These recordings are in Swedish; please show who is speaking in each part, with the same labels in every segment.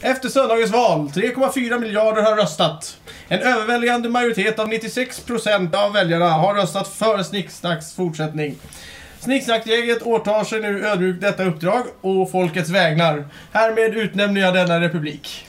Speaker 1: Efter söndagens val, 3,4 miljarder har röstat. En överväldigande majoritet av 96% av väljarna har röstat för Snicksnacks fortsättning. Snicksnackgänget åtar sig nu ödmjukt detta uppdrag och folkets vägnar. Härmed utnämner jag denna republik.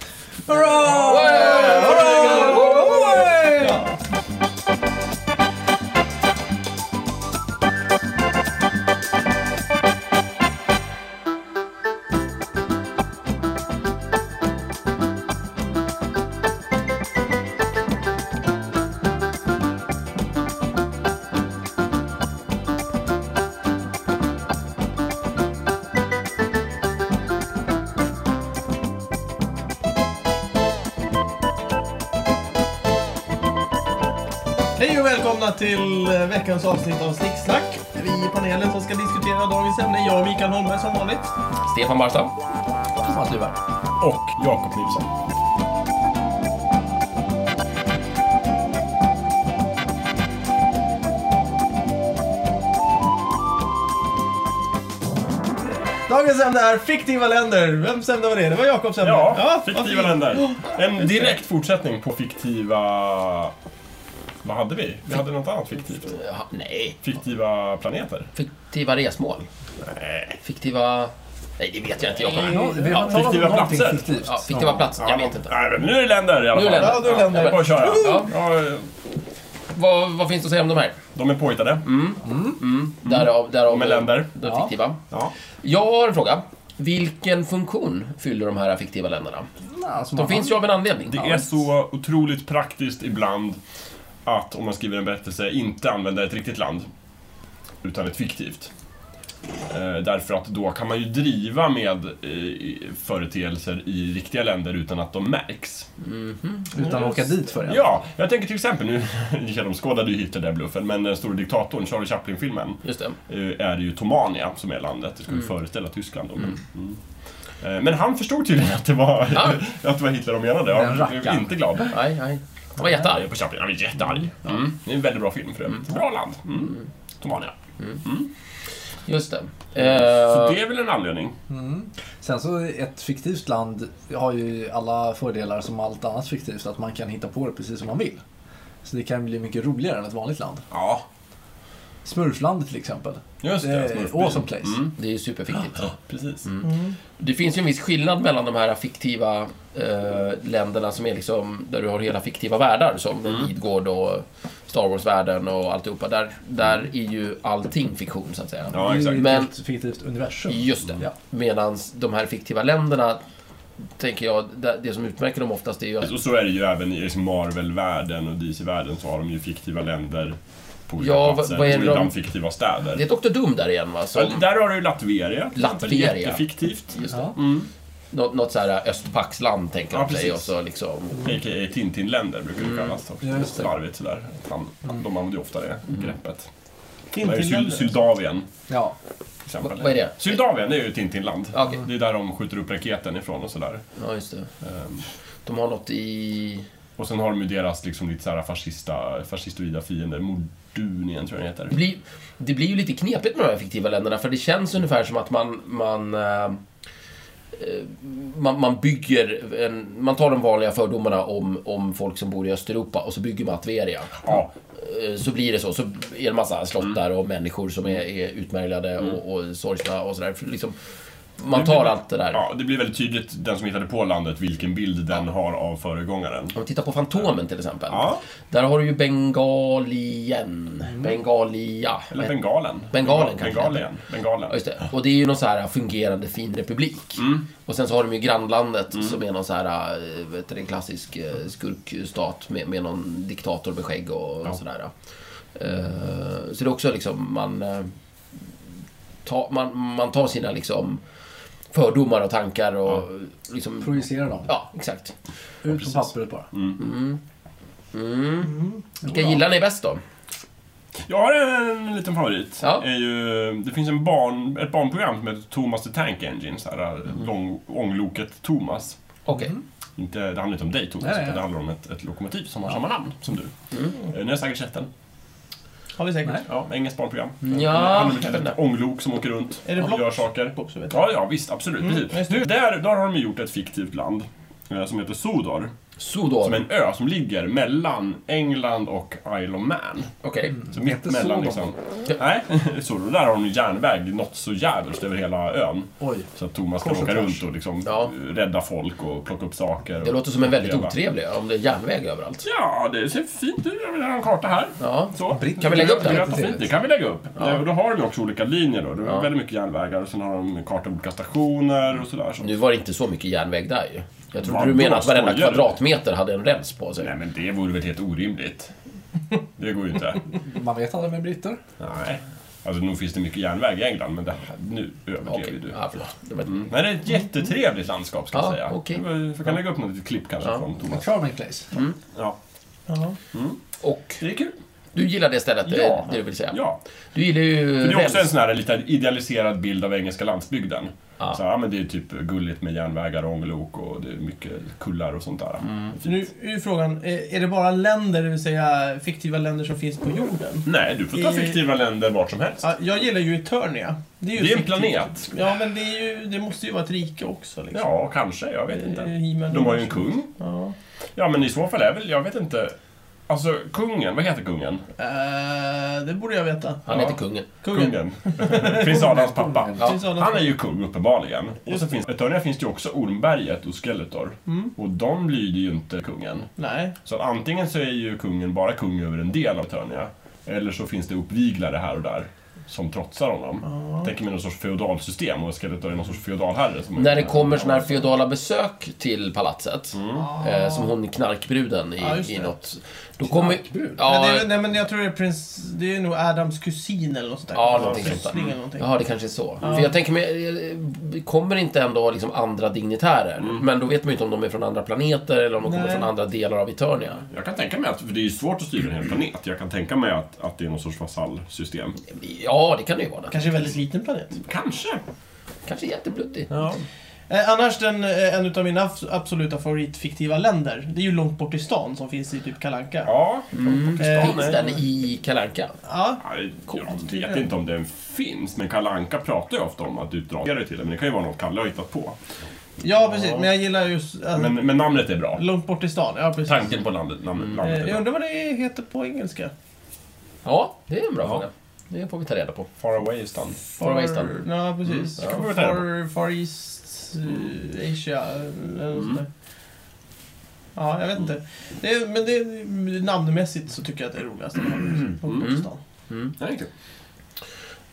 Speaker 1: Hej och välkomna till eh, veckans avsnitt av Snicksnack. Vi i panelen som ska diskutera dagens ämne, jag och Mikael Holmberg som vanligt.
Speaker 2: Stefan Barstam.
Speaker 3: Thomas Luvar.
Speaker 4: och Jakob Nilsson.
Speaker 1: Dagens ämne är fiktiva länder. Vems ämne var det? Det var Jakobs ämne.
Speaker 4: Ja,
Speaker 1: vad
Speaker 4: fiktiva
Speaker 1: fint.
Speaker 4: länder. En direkt fortsättning på fiktiva... Vad hade vi? Vi hade något annat fiktivt.
Speaker 2: Ja, nej,
Speaker 4: Fiktiva planeter.
Speaker 2: fiktiva resmål. Nej. Fiktiva... Nej, det vet jag inte. Jag kommer...
Speaker 3: No, vi
Speaker 2: ja,
Speaker 3: har talat om
Speaker 4: fiktiva
Speaker 3: någonting
Speaker 4: platser.
Speaker 3: fiktivt.
Speaker 2: ja, fiktiva platser. Jag vet inte.
Speaker 4: Nej, men nu är det länder i alla
Speaker 2: Nu är
Speaker 4: fall.
Speaker 2: det länder.
Speaker 1: Ja, då är det länder.
Speaker 4: Jag får köra.
Speaker 2: Ja.
Speaker 4: Ja,
Speaker 2: Vad, vad finns det att säga om de här?
Speaker 4: de är påhittade.
Speaker 1: Mm.
Speaker 2: Därav, därav
Speaker 4: De är länder.
Speaker 2: de
Speaker 3: Ja.
Speaker 2: fiktiva.
Speaker 4: Ja.
Speaker 2: Jag har en fråga. Vilken funktion fyller de här fiktiva länderna?
Speaker 3: Ja, som
Speaker 2: De
Speaker 3: man-
Speaker 2: finns ju av en anledning.
Speaker 4: Det är så otroligt praktiskt ibland att om man skriver en berättelse inte använda ett riktigt land utan ett fiktivt. Eh, Därför att då kan man ju driva med eh, företeelser i riktiga länder utan att de märks.
Speaker 3: Utan att åka dit för det.
Speaker 4: Ja, jag tänker till exempel nu, genomskådade ju Hitler den bluffen, men den stora diktatorn, Charlie Chaplin-filmen,
Speaker 2: Just det.
Speaker 4: eh, är det ju Tomania som är landet. Det skulle föreställa Tyskland då. men- Mm. Eh, Men han förstod tydligen att det var,
Speaker 2: Ah.
Speaker 4: att det var Hitler de menade.
Speaker 3: Den
Speaker 4: Han blev
Speaker 3: rackaren.
Speaker 4: inte glad.
Speaker 2: Nej, nej. Jag var
Speaker 4: Han är
Speaker 2: jättearg.
Speaker 4: på Chaplin, han är jättearg. Mm. Det är en väldigt bra film för det. Bra land. Mm. Tomania.
Speaker 2: Just det.
Speaker 4: Så
Speaker 2: Eh,
Speaker 4: det är väl en anledning.
Speaker 3: Sen så, ett fiktivt land har ju alla fördelar som allt annat fiktivt. Att man kan hitta på det precis som man vill. Så det kan bli mycket roligare än ett vanligt land.
Speaker 4: Ja,
Speaker 3: Smurfland till exempel.
Speaker 4: just
Speaker 3: Det
Speaker 4: det.
Speaker 3: är
Speaker 4: Smurfbyn.
Speaker 3: awesome place.
Speaker 4: Mm.
Speaker 2: Eh, det är ju superfiktivt.
Speaker 4: Ja, precis.
Speaker 2: Det finns ju en viss skillnad mellan de här fiktiva eh, länderna som är liksom där du har hela fiktiva världar som
Speaker 4: Mm.
Speaker 2: Midgård och Star Wars-världen och alltihopa. Där, där är ju allting fiktion så att säga.
Speaker 4: Mm. Ja,
Speaker 3: Det är
Speaker 4: exakt.
Speaker 3: ju
Speaker 2: Men-
Speaker 3: ett fiktivt universum.
Speaker 2: Just det.
Speaker 3: Ja.
Speaker 2: Medan de här fiktiva länderna, tänker jag, det det som utmärker dem oftast är ju att
Speaker 4: Och så är det ju även i liksom Marvel-världen och DC-världen så har de ju fiktiva länder på olika
Speaker 2: Ja, vad-
Speaker 4: platser.
Speaker 2: vad är
Speaker 4: och
Speaker 2: det
Speaker 4: ibland
Speaker 2: de-
Speaker 4: fiktiva städer.
Speaker 2: det är Dr. Doom där igen va? Som,
Speaker 4: Ja, Där har du ju Latveria. till exempel.
Speaker 2: Latveria.
Speaker 4: Jättefiktivt.
Speaker 2: just det.
Speaker 3: Ja.
Speaker 2: Nå- något så här östpaxland tänker
Speaker 4: Mm. Ja,
Speaker 2: de sig. Och
Speaker 4: precis.
Speaker 2: så liksom,
Speaker 4: A.k.a. Tintinländer brukar det kallas.
Speaker 3: Ja,
Speaker 4: Mm.
Speaker 3: just det.
Speaker 4: Slarvigt sådär. Att Han, De använder ju ofta det greppet. Det är ju Syl-
Speaker 1: Tintinländer.
Speaker 4: Syldavien.
Speaker 3: Ja.
Speaker 4: till exempel.
Speaker 2: Va- vad är det?
Speaker 4: Syldavien det är ju Tintinland.
Speaker 2: Ja, okej.
Speaker 4: Det är där de skjuter upp raketen ifrån och sådär.
Speaker 2: ja, just det.
Speaker 4: Ehm,
Speaker 2: De har något i...
Speaker 4: och sen har de ju deras liksom lite såhär fascista, fascistoida fiender. Mordunien tror jag den
Speaker 2: Det
Speaker 4: heter.
Speaker 2: blir, det blir ju lite knepigt med de här fiktiva länderna för det känns ungefär som att man... man eh, eh, man, man bygger en, Man tar de vanliga fördomarna om, om folk som bor i Östeuropa och så bygger man Atveria.
Speaker 4: Ja,
Speaker 2: Eh, Så blir det så. Så är det en massa slottar och människor som är, är utmärglade och, och sorgsna och sådär. För Liksom, man tar allt det där.
Speaker 4: Mm. ja, det blir väldigt tydligt, den som hittade på landet, vilken bild den har av föregångaren.
Speaker 2: Om vi tittar på Fantomen till exempel.
Speaker 4: Ja, Mm.
Speaker 2: Där har du ju Bengalien. Bengalia.
Speaker 4: eller Bengalen.
Speaker 2: Bengalen kanske
Speaker 4: Bengalien. Bengalen.
Speaker 2: Ja, just det. Och det är ju någon så här fungerande fin republik.
Speaker 4: Mm.
Speaker 2: Och sen så har de ju grannlandet som är någon så här, eh, vet du, en klassisk eh, skurkstat med, med någon diktator med skägg och
Speaker 4: Ja.
Speaker 2: sådär. ja. Eh, Så det är också liksom, man, eh, ta, man, man tar sina liksom fördomar och tankar och liksom,
Speaker 3: Projicera dem.
Speaker 2: ja exakt.
Speaker 3: Ut på pappret bara.
Speaker 2: Vilka gillar ni bäst då?
Speaker 4: Jag har en liten favorit.
Speaker 2: Ja.
Speaker 4: Är ju, det finns en barn, ett barnprogram som heter Thomas the Tank Engine. Så här, äh, lång, ångloket Thomas.
Speaker 2: Okej.
Speaker 4: Mm. Inte, det handlar inte om dig Thomas,
Speaker 3: Nej, nej,
Speaker 4: utan det
Speaker 3: nej.
Speaker 4: handlar om ett, ett lokomotiv som har samma namn som du.
Speaker 2: Mm.
Speaker 4: Eh, Ni har säkert sett den.
Speaker 1: Har vi säkert.
Speaker 3: Nej.
Speaker 4: Ja, engelskt barnprogram.
Speaker 2: Ja,
Speaker 4: det handlar om ett
Speaker 2: jag vet
Speaker 4: litet ånglok som åker runt
Speaker 1: Är det
Speaker 4: och
Speaker 1: blått?
Speaker 4: gör saker.
Speaker 1: Också vet jag.
Speaker 4: Ja, ja visst, absolut. precis.
Speaker 1: just det.
Speaker 4: Du, där, där har de ju gjort ett fiktivt land. eh, som heter Sodor. Som är
Speaker 2: Sodor.
Speaker 4: en ö som ligger mellan England och Isle of Man.
Speaker 2: Okej.
Speaker 4: Så mitt
Speaker 3: Inte
Speaker 4: mellan
Speaker 3: Sodor.
Speaker 4: liksom... Nej, Sodor. Där har de ju järnväg något så jävligt över hela ön.
Speaker 3: Oj.
Speaker 4: Så att Thomas
Speaker 3: Kors
Speaker 4: kan
Speaker 3: och
Speaker 4: åka
Speaker 3: tvärs.
Speaker 4: runt och liksom
Speaker 2: Ja.
Speaker 4: rädda folk och plocka upp saker.
Speaker 2: Det
Speaker 4: och
Speaker 2: låter som en väldigt
Speaker 4: leva.
Speaker 2: otrevlig ö, om det är järnväg överallt.
Speaker 4: Ja, det ser fint ut. Jag vill ha en karta här.
Speaker 2: Ja.
Speaker 4: Så.
Speaker 3: Britt-
Speaker 2: Kan vi lägga upp den?
Speaker 4: Det, är fint. det kan vi lägga upp.
Speaker 2: Ja.
Speaker 4: Ja. Då har de ju också olika linjer då. Det är
Speaker 2: Ja.
Speaker 4: väldigt mycket järnvägar och sen har de kartor på olika stationer och sådär. Så.
Speaker 2: Nu var det inte så mycket järnväg där ju. Jag trodde
Speaker 4: Vad
Speaker 2: du menade att
Speaker 4: då?
Speaker 2: varenda
Speaker 4: Skojar du?
Speaker 2: kvadratmeter hade en räls på sig.
Speaker 4: Nej, men det vore väl helt orimligt. Det går ju inte.
Speaker 3: Man vet aldrig med britter.
Speaker 4: Nej. Alltså, nog finns det mycket järnväg i England, men det här, nu överdrev
Speaker 2: Okej,
Speaker 4: ju du.
Speaker 2: ja, förlåt. Det var-
Speaker 4: Mm. Men det är ett jättetrevligt landskap, ska
Speaker 2: Ja,
Speaker 4: jag säga.
Speaker 2: okej.
Speaker 4: Vi får- kan lägga upp något litet klipp kanske
Speaker 2: Ja.
Speaker 4: från Thomas.
Speaker 3: Charming place.
Speaker 4: Ja.
Speaker 2: Och
Speaker 4: Det är kul.
Speaker 2: du gillar det stället, det,
Speaker 4: Ja.
Speaker 2: det du vill säga?
Speaker 4: Ja.
Speaker 2: Du gillar ju
Speaker 4: För det är också en
Speaker 2: räls.
Speaker 4: sån här lite idealiserad bild av engelska landsbygden.
Speaker 2: Ja.
Speaker 4: Så, ja, men det är typ gulligt med järnvägar och ånglok och det är mycket kullar och sånt där.
Speaker 2: Mm.
Speaker 1: Så nu är ju frågan, eh, är det bara länder, det vill säga fiktiva länder som finns på jorden?
Speaker 4: Nej, du får ta
Speaker 1: I-
Speaker 4: fiktiva länder vart som helst.
Speaker 1: Ja, jag gillar ju Eternia. ju
Speaker 4: Det är en
Speaker 1: fiktivt.
Speaker 4: planet.
Speaker 1: Ja, men det, är ju, det måste ju vara ett rike också. Liksom.
Speaker 4: Ja, kanske. Jag vet
Speaker 1: Eh,
Speaker 4: inte.
Speaker 1: He-Man
Speaker 4: De har ju
Speaker 1: Universe.
Speaker 4: en kung.
Speaker 1: Ja.
Speaker 4: Ja, men i så fall är väl, jag vet inte. Alltså, kungen, vad heter kungen?
Speaker 1: Eh, det borde jag veta.
Speaker 2: Han
Speaker 4: Ja.
Speaker 2: heter kungen.
Speaker 1: Kungen.
Speaker 4: Kungen. Prins Adams pappa.
Speaker 1: Det
Speaker 2: Ja.
Speaker 1: finns alla-
Speaker 4: Han är ju kung uppenbarligen. Och så finns, Eternia finns det ju också Ormberget och Skeletor.
Speaker 1: Mm.
Speaker 4: Och de lyder ju inte kungen.
Speaker 1: Nej.
Speaker 4: Så att antingen så är ju kungen bara kung över en del av Eternia. Eller så finns det uppviglare här och där som trotsar honom. Tänker mig någon sorts feodalsystem och Skeletor är någon sorts feodalherre. Som
Speaker 2: När det kommer såna här feodala besök till palatset,
Speaker 4: Mm.
Speaker 2: eh, som hon knarkbruden i,
Speaker 1: Ja, just det.
Speaker 2: i något... Då kommer...
Speaker 3: Knarkbrud?
Speaker 2: Ja,
Speaker 1: Men det,
Speaker 4: eh.
Speaker 1: är- nej, men jag tror det är prins... Det är nog Adams kusin eller något sånt där.
Speaker 2: Ja, någonting sånt där.
Speaker 1: Syssling eller någonting.
Speaker 2: Jaha, det kanske är så. För jag tänker mig, eh, kommer inte ändå liksom andra dignitärer?
Speaker 4: Mm.
Speaker 2: Men då vet man ju inte om de är från andra planeter eller om de kommer
Speaker 1: Nej.
Speaker 2: från andra delar av Eternia.
Speaker 4: Jag kan tänka mig att, för det är ju svårt att styra en hel planet, jag kan tänka mig att, att det är någon sorts vasallsystem.
Speaker 2: Ja, det kan det ju vara. Det.
Speaker 1: Kanske en väldigt liten planet.
Speaker 4: Kanske.
Speaker 2: Kanske jättebluttig.
Speaker 4: Ja.
Speaker 1: Eh, annars den, eh, en utav mina abs- absoluta favoritfiktiva länder, det är ju långt bort i stan som finns i typ Kalanka.
Speaker 4: Ja.
Speaker 1: Eh,
Speaker 2: Finns den i Kalanka?
Speaker 1: ja.
Speaker 4: Nej, Jag vet inte om den finns, men Kalle Anka pratar ju ofta om att du drar dig till det, men det kan ju vara något Kalle har hittat på.
Speaker 1: ja, precis. Men jag gillar just... eh,
Speaker 4: Men, men namnet är bra.
Speaker 1: Långt bort i stan, ja precis.
Speaker 4: Tanken på landet, namnet,
Speaker 1: Eh,
Speaker 4: namnet
Speaker 1: jag
Speaker 4: är bra.
Speaker 1: undrar vad det heter på engelska?
Speaker 2: Ja, det är en bra
Speaker 4: Ja.
Speaker 2: fråga. Det får vi ta reda på.
Speaker 4: Far away is done.
Speaker 2: Far Away Stan.
Speaker 1: Ja, precis.
Speaker 4: Mm, det kan vi ta reda
Speaker 1: far,
Speaker 4: på.
Speaker 1: far East eh, Asia, eller något
Speaker 4: Mm.
Speaker 1: sånt där. Ja, jag vet inte. Det, är- men det, namnmässigt så tycker jag att det är roligast. Mm.
Speaker 2: Mm.
Speaker 1: Stan.
Speaker 4: Nej,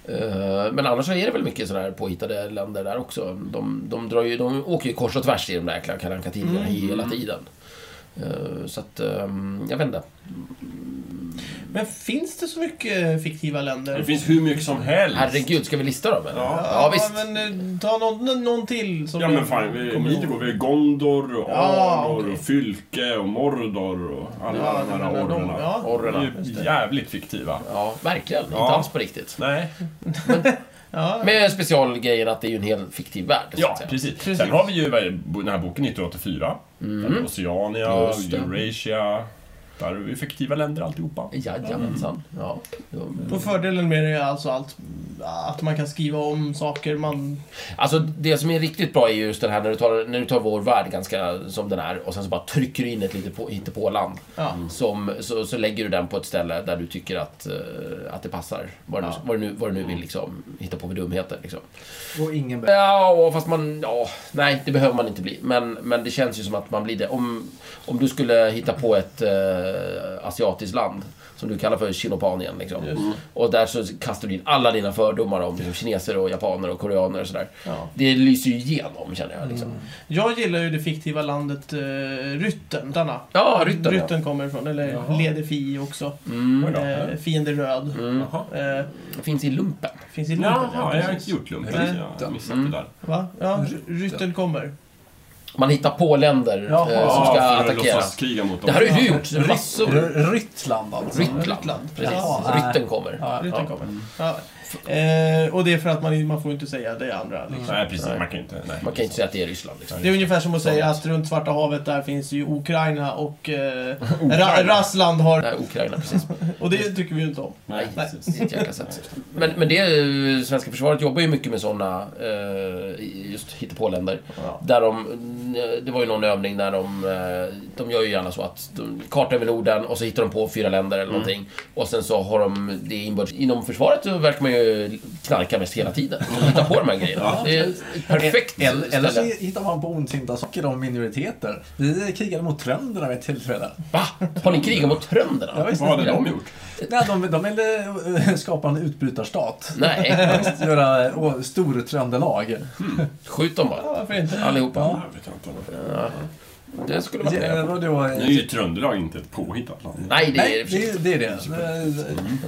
Speaker 2: Eh, Men annars så är det väl mycket sådana här påhittade länder där också. De, de, drar ju, de åker ju kors och tvärs i de där jäkla Kalle Anka-tidningarna hela tiden. Eh, Så att, ehm, jag vet inte.
Speaker 1: Men finns det så mycket eh, fiktiva länder?
Speaker 4: Det finns hur mycket som helst.
Speaker 2: Herregud, ska vi lista dem eller?
Speaker 4: Ja.
Speaker 2: ja visst.
Speaker 1: men eh, ta någon, någon till som
Speaker 4: Ja
Speaker 1: du
Speaker 4: men fan, vi,
Speaker 1: kommer
Speaker 4: vi går
Speaker 1: ihåg.
Speaker 4: vi har Gondor och
Speaker 1: Ja,
Speaker 4: Arnor
Speaker 1: okej.
Speaker 4: och Fylke och Mordor och alla
Speaker 1: Ja,
Speaker 4: de här
Speaker 1: men de-
Speaker 4: orrerna.
Speaker 1: ja.
Speaker 4: Orrerna.
Speaker 2: Orrerna,
Speaker 4: Det är ju jävligt fiktiva.
Speaker 2: Ja, verkligen.
Speaker 4: Ja.
Speaker 2: Inte alls på riktigt.
Speaker 4: Nej,
Speaker 1: Ja,
Speaker 2: Med specialgrejen att det är ju en hel fiktiv värld. så
Speaker 4: ja
Speaker 2: att säga.
Speaker 4: precis.
Speaker 1: Precis.
Speaker 4: Sen har vi ju den här boken 1984. Där är Oceania,
Speaker 2: Mm. Just det.
Speaker 4: Eurasia. Där är vi fiktiva länder alltihopa.
Speaker 2: Jajamensan. Ja.
Speaker 1: och fördelen med det är alltså allt, att man kan skriva om saker man...
Speaker 2: Alltså, det som är riktigt bra är ju just den här när du tar, när du tar vår värld ganska som den är och sen så bara trycker du in ett litet på, hittepåland.
Speaker 1: Ja.
Speaker 2: Som, så, så lägger du den på ett ställe där du tycker att, eh, att det passar. Vad du,
Speaker 1: Ja.
Speaker 2: vad du, nu, vad du nu vill liksom, hitta på för dumheter. Liksom.
Speaker 3: Och ingen bär.
Speaker 2: Ja, fast man... Ja, nej, det behöver man inte bli. Men, men det känns ju som att man blir det. Om, om du skulle hitta på ett eh, asiatiskt land som du kallar för Kinopanien. Liksom.
Speaker 1: Just.
Speaker 2: Och där så kastar du in alla dina fördomar om liksom, kineser och japaner och koreaner och sådär.
Speaker 1: Ja.
Speaker 2: Det lyser ju igenom känner jag.
Speaker 4: Mm.
Speaker 2: Liksom.
Speaker 1: Jag gillar ju det fiktiva landet uh, Rytten. Danna.
Speaker 2: Ja, rytten.
Speaker 1: Rytten kommer ifrån, eller
Speaker 4: Jaha.
Speaker 1: Ledefi också.
Speaker 2: Mm.
Speaker 4: Oj då.
Speaker 1: Eh, fiende Röd.
Speaker 2: Mm.
Speaker 4: Jaha.
Speaker 1: Eh,
Speaker 2: Det finns i lumpen.
Speaker 1: finns i London,
Speaker 4: Jaha, jag har
Speaker 1: precis.
Speaker 4: inte gjort lumpen.
Speaker 1: Nej.
Speaker 4: Jag har missat
Speaker 2: Mm.
Speaker 4: det där.
Speaker 1: Va? Ja,
Speaker 3: Rytten.
Speaker 1: Rytten kommer.
Speaker 2: Man hittar på länder
Speaker 3: Jaha.
Speaker 2: eh, som ska
Speaker 4: för att
Speaker 2: attackera.
Speaker 4: låtsas kriga mot dem.
Speaker 2: Det här har ju du gjort. så Massor.
Speaker 3: R- Ryttland alltså.
Speaker 2: Ryttland.
Speaker 1: Ryttland.
Speaker 2: Precis.
Speaker 3: Ja.
Speaker 2: Rytten kommer.
Speaker 3: Ja,
Speaker 1: Rytten
Speaker 2: Ja.
Speaker 1: kommer. Ja. Eh, och det är för att man, man får inte säga det andra. Liksom.
Speaker 4: Nej, precis.
Speaker 2: Nej.
Speaker 4: Man kan ju inte... Nej.
Speaker 2: Man kan ju inte säga att det är Ryssland. Liksom.
Speaker 1: Det är ungefär som att säga att runt Svarta havet där finns ju Ukraina och eh, Ra-
Speaker 4: Ukraina.
Speaker 1: Rassland har...
Speaker 2: Nej, Ukraina, precis.
Speaker 1: Och det tycker vi ju inte om.
Speaker 4: Nej,
Speaker 2: Nej.
Speaker 4: precis.
Speaker 2: Inte jäkla sätt. Men, men det, är eh, ju- svenska försvaret jobbar ju mycket med sådana eh, just hittepåländer.
Speaker 1: Ja.
Speaker 2: Där de, eh, det var ju någon övning när de... eh, De gör ju gärna så att de kartar över Norden och så hittar de på fyra länder eller någonting. Och sen så har de det inbördes... Inom försvaret så verkar man ju knarka mest hela tiden. De hittar på de här grejerna. Det är ett perfekt
Speaker 3: Eller, eller så
Speaker 2: ställe.
Speaker 3: hittar man på ondsinta saker om minoriteter. Vi krigade mot trönderna vid ett tillfälle.
Speaker 2: Va? Har ni krigat mot
Speaker 3: Ja,
Speaker 2: trönderna?
Speaker 3: visst.
Speaker 4: Vad hade de gjort?
Speaker 3: Nej, de, de ville eh, skapa en utbrytarstat.
Speaker 2: Nej,
Speaker 3: Göra eh, stor tröndelag.
Speaker 2: skjut dem bara.
Speaker 1: Varför inte?
Speaker 2: Allihopa.
Speaker 4: Jag vet inte.
Speaker 2: Det skulle vara
Speaker 3: Det
Speaker 2: med.
Speaker 3: var då...
Speaker 4: Nu är ju Tröndelag inte ett påhittat land.
Speaker 2: Nej, det är
Speaker 3: eh, Nej, det är det. Är det.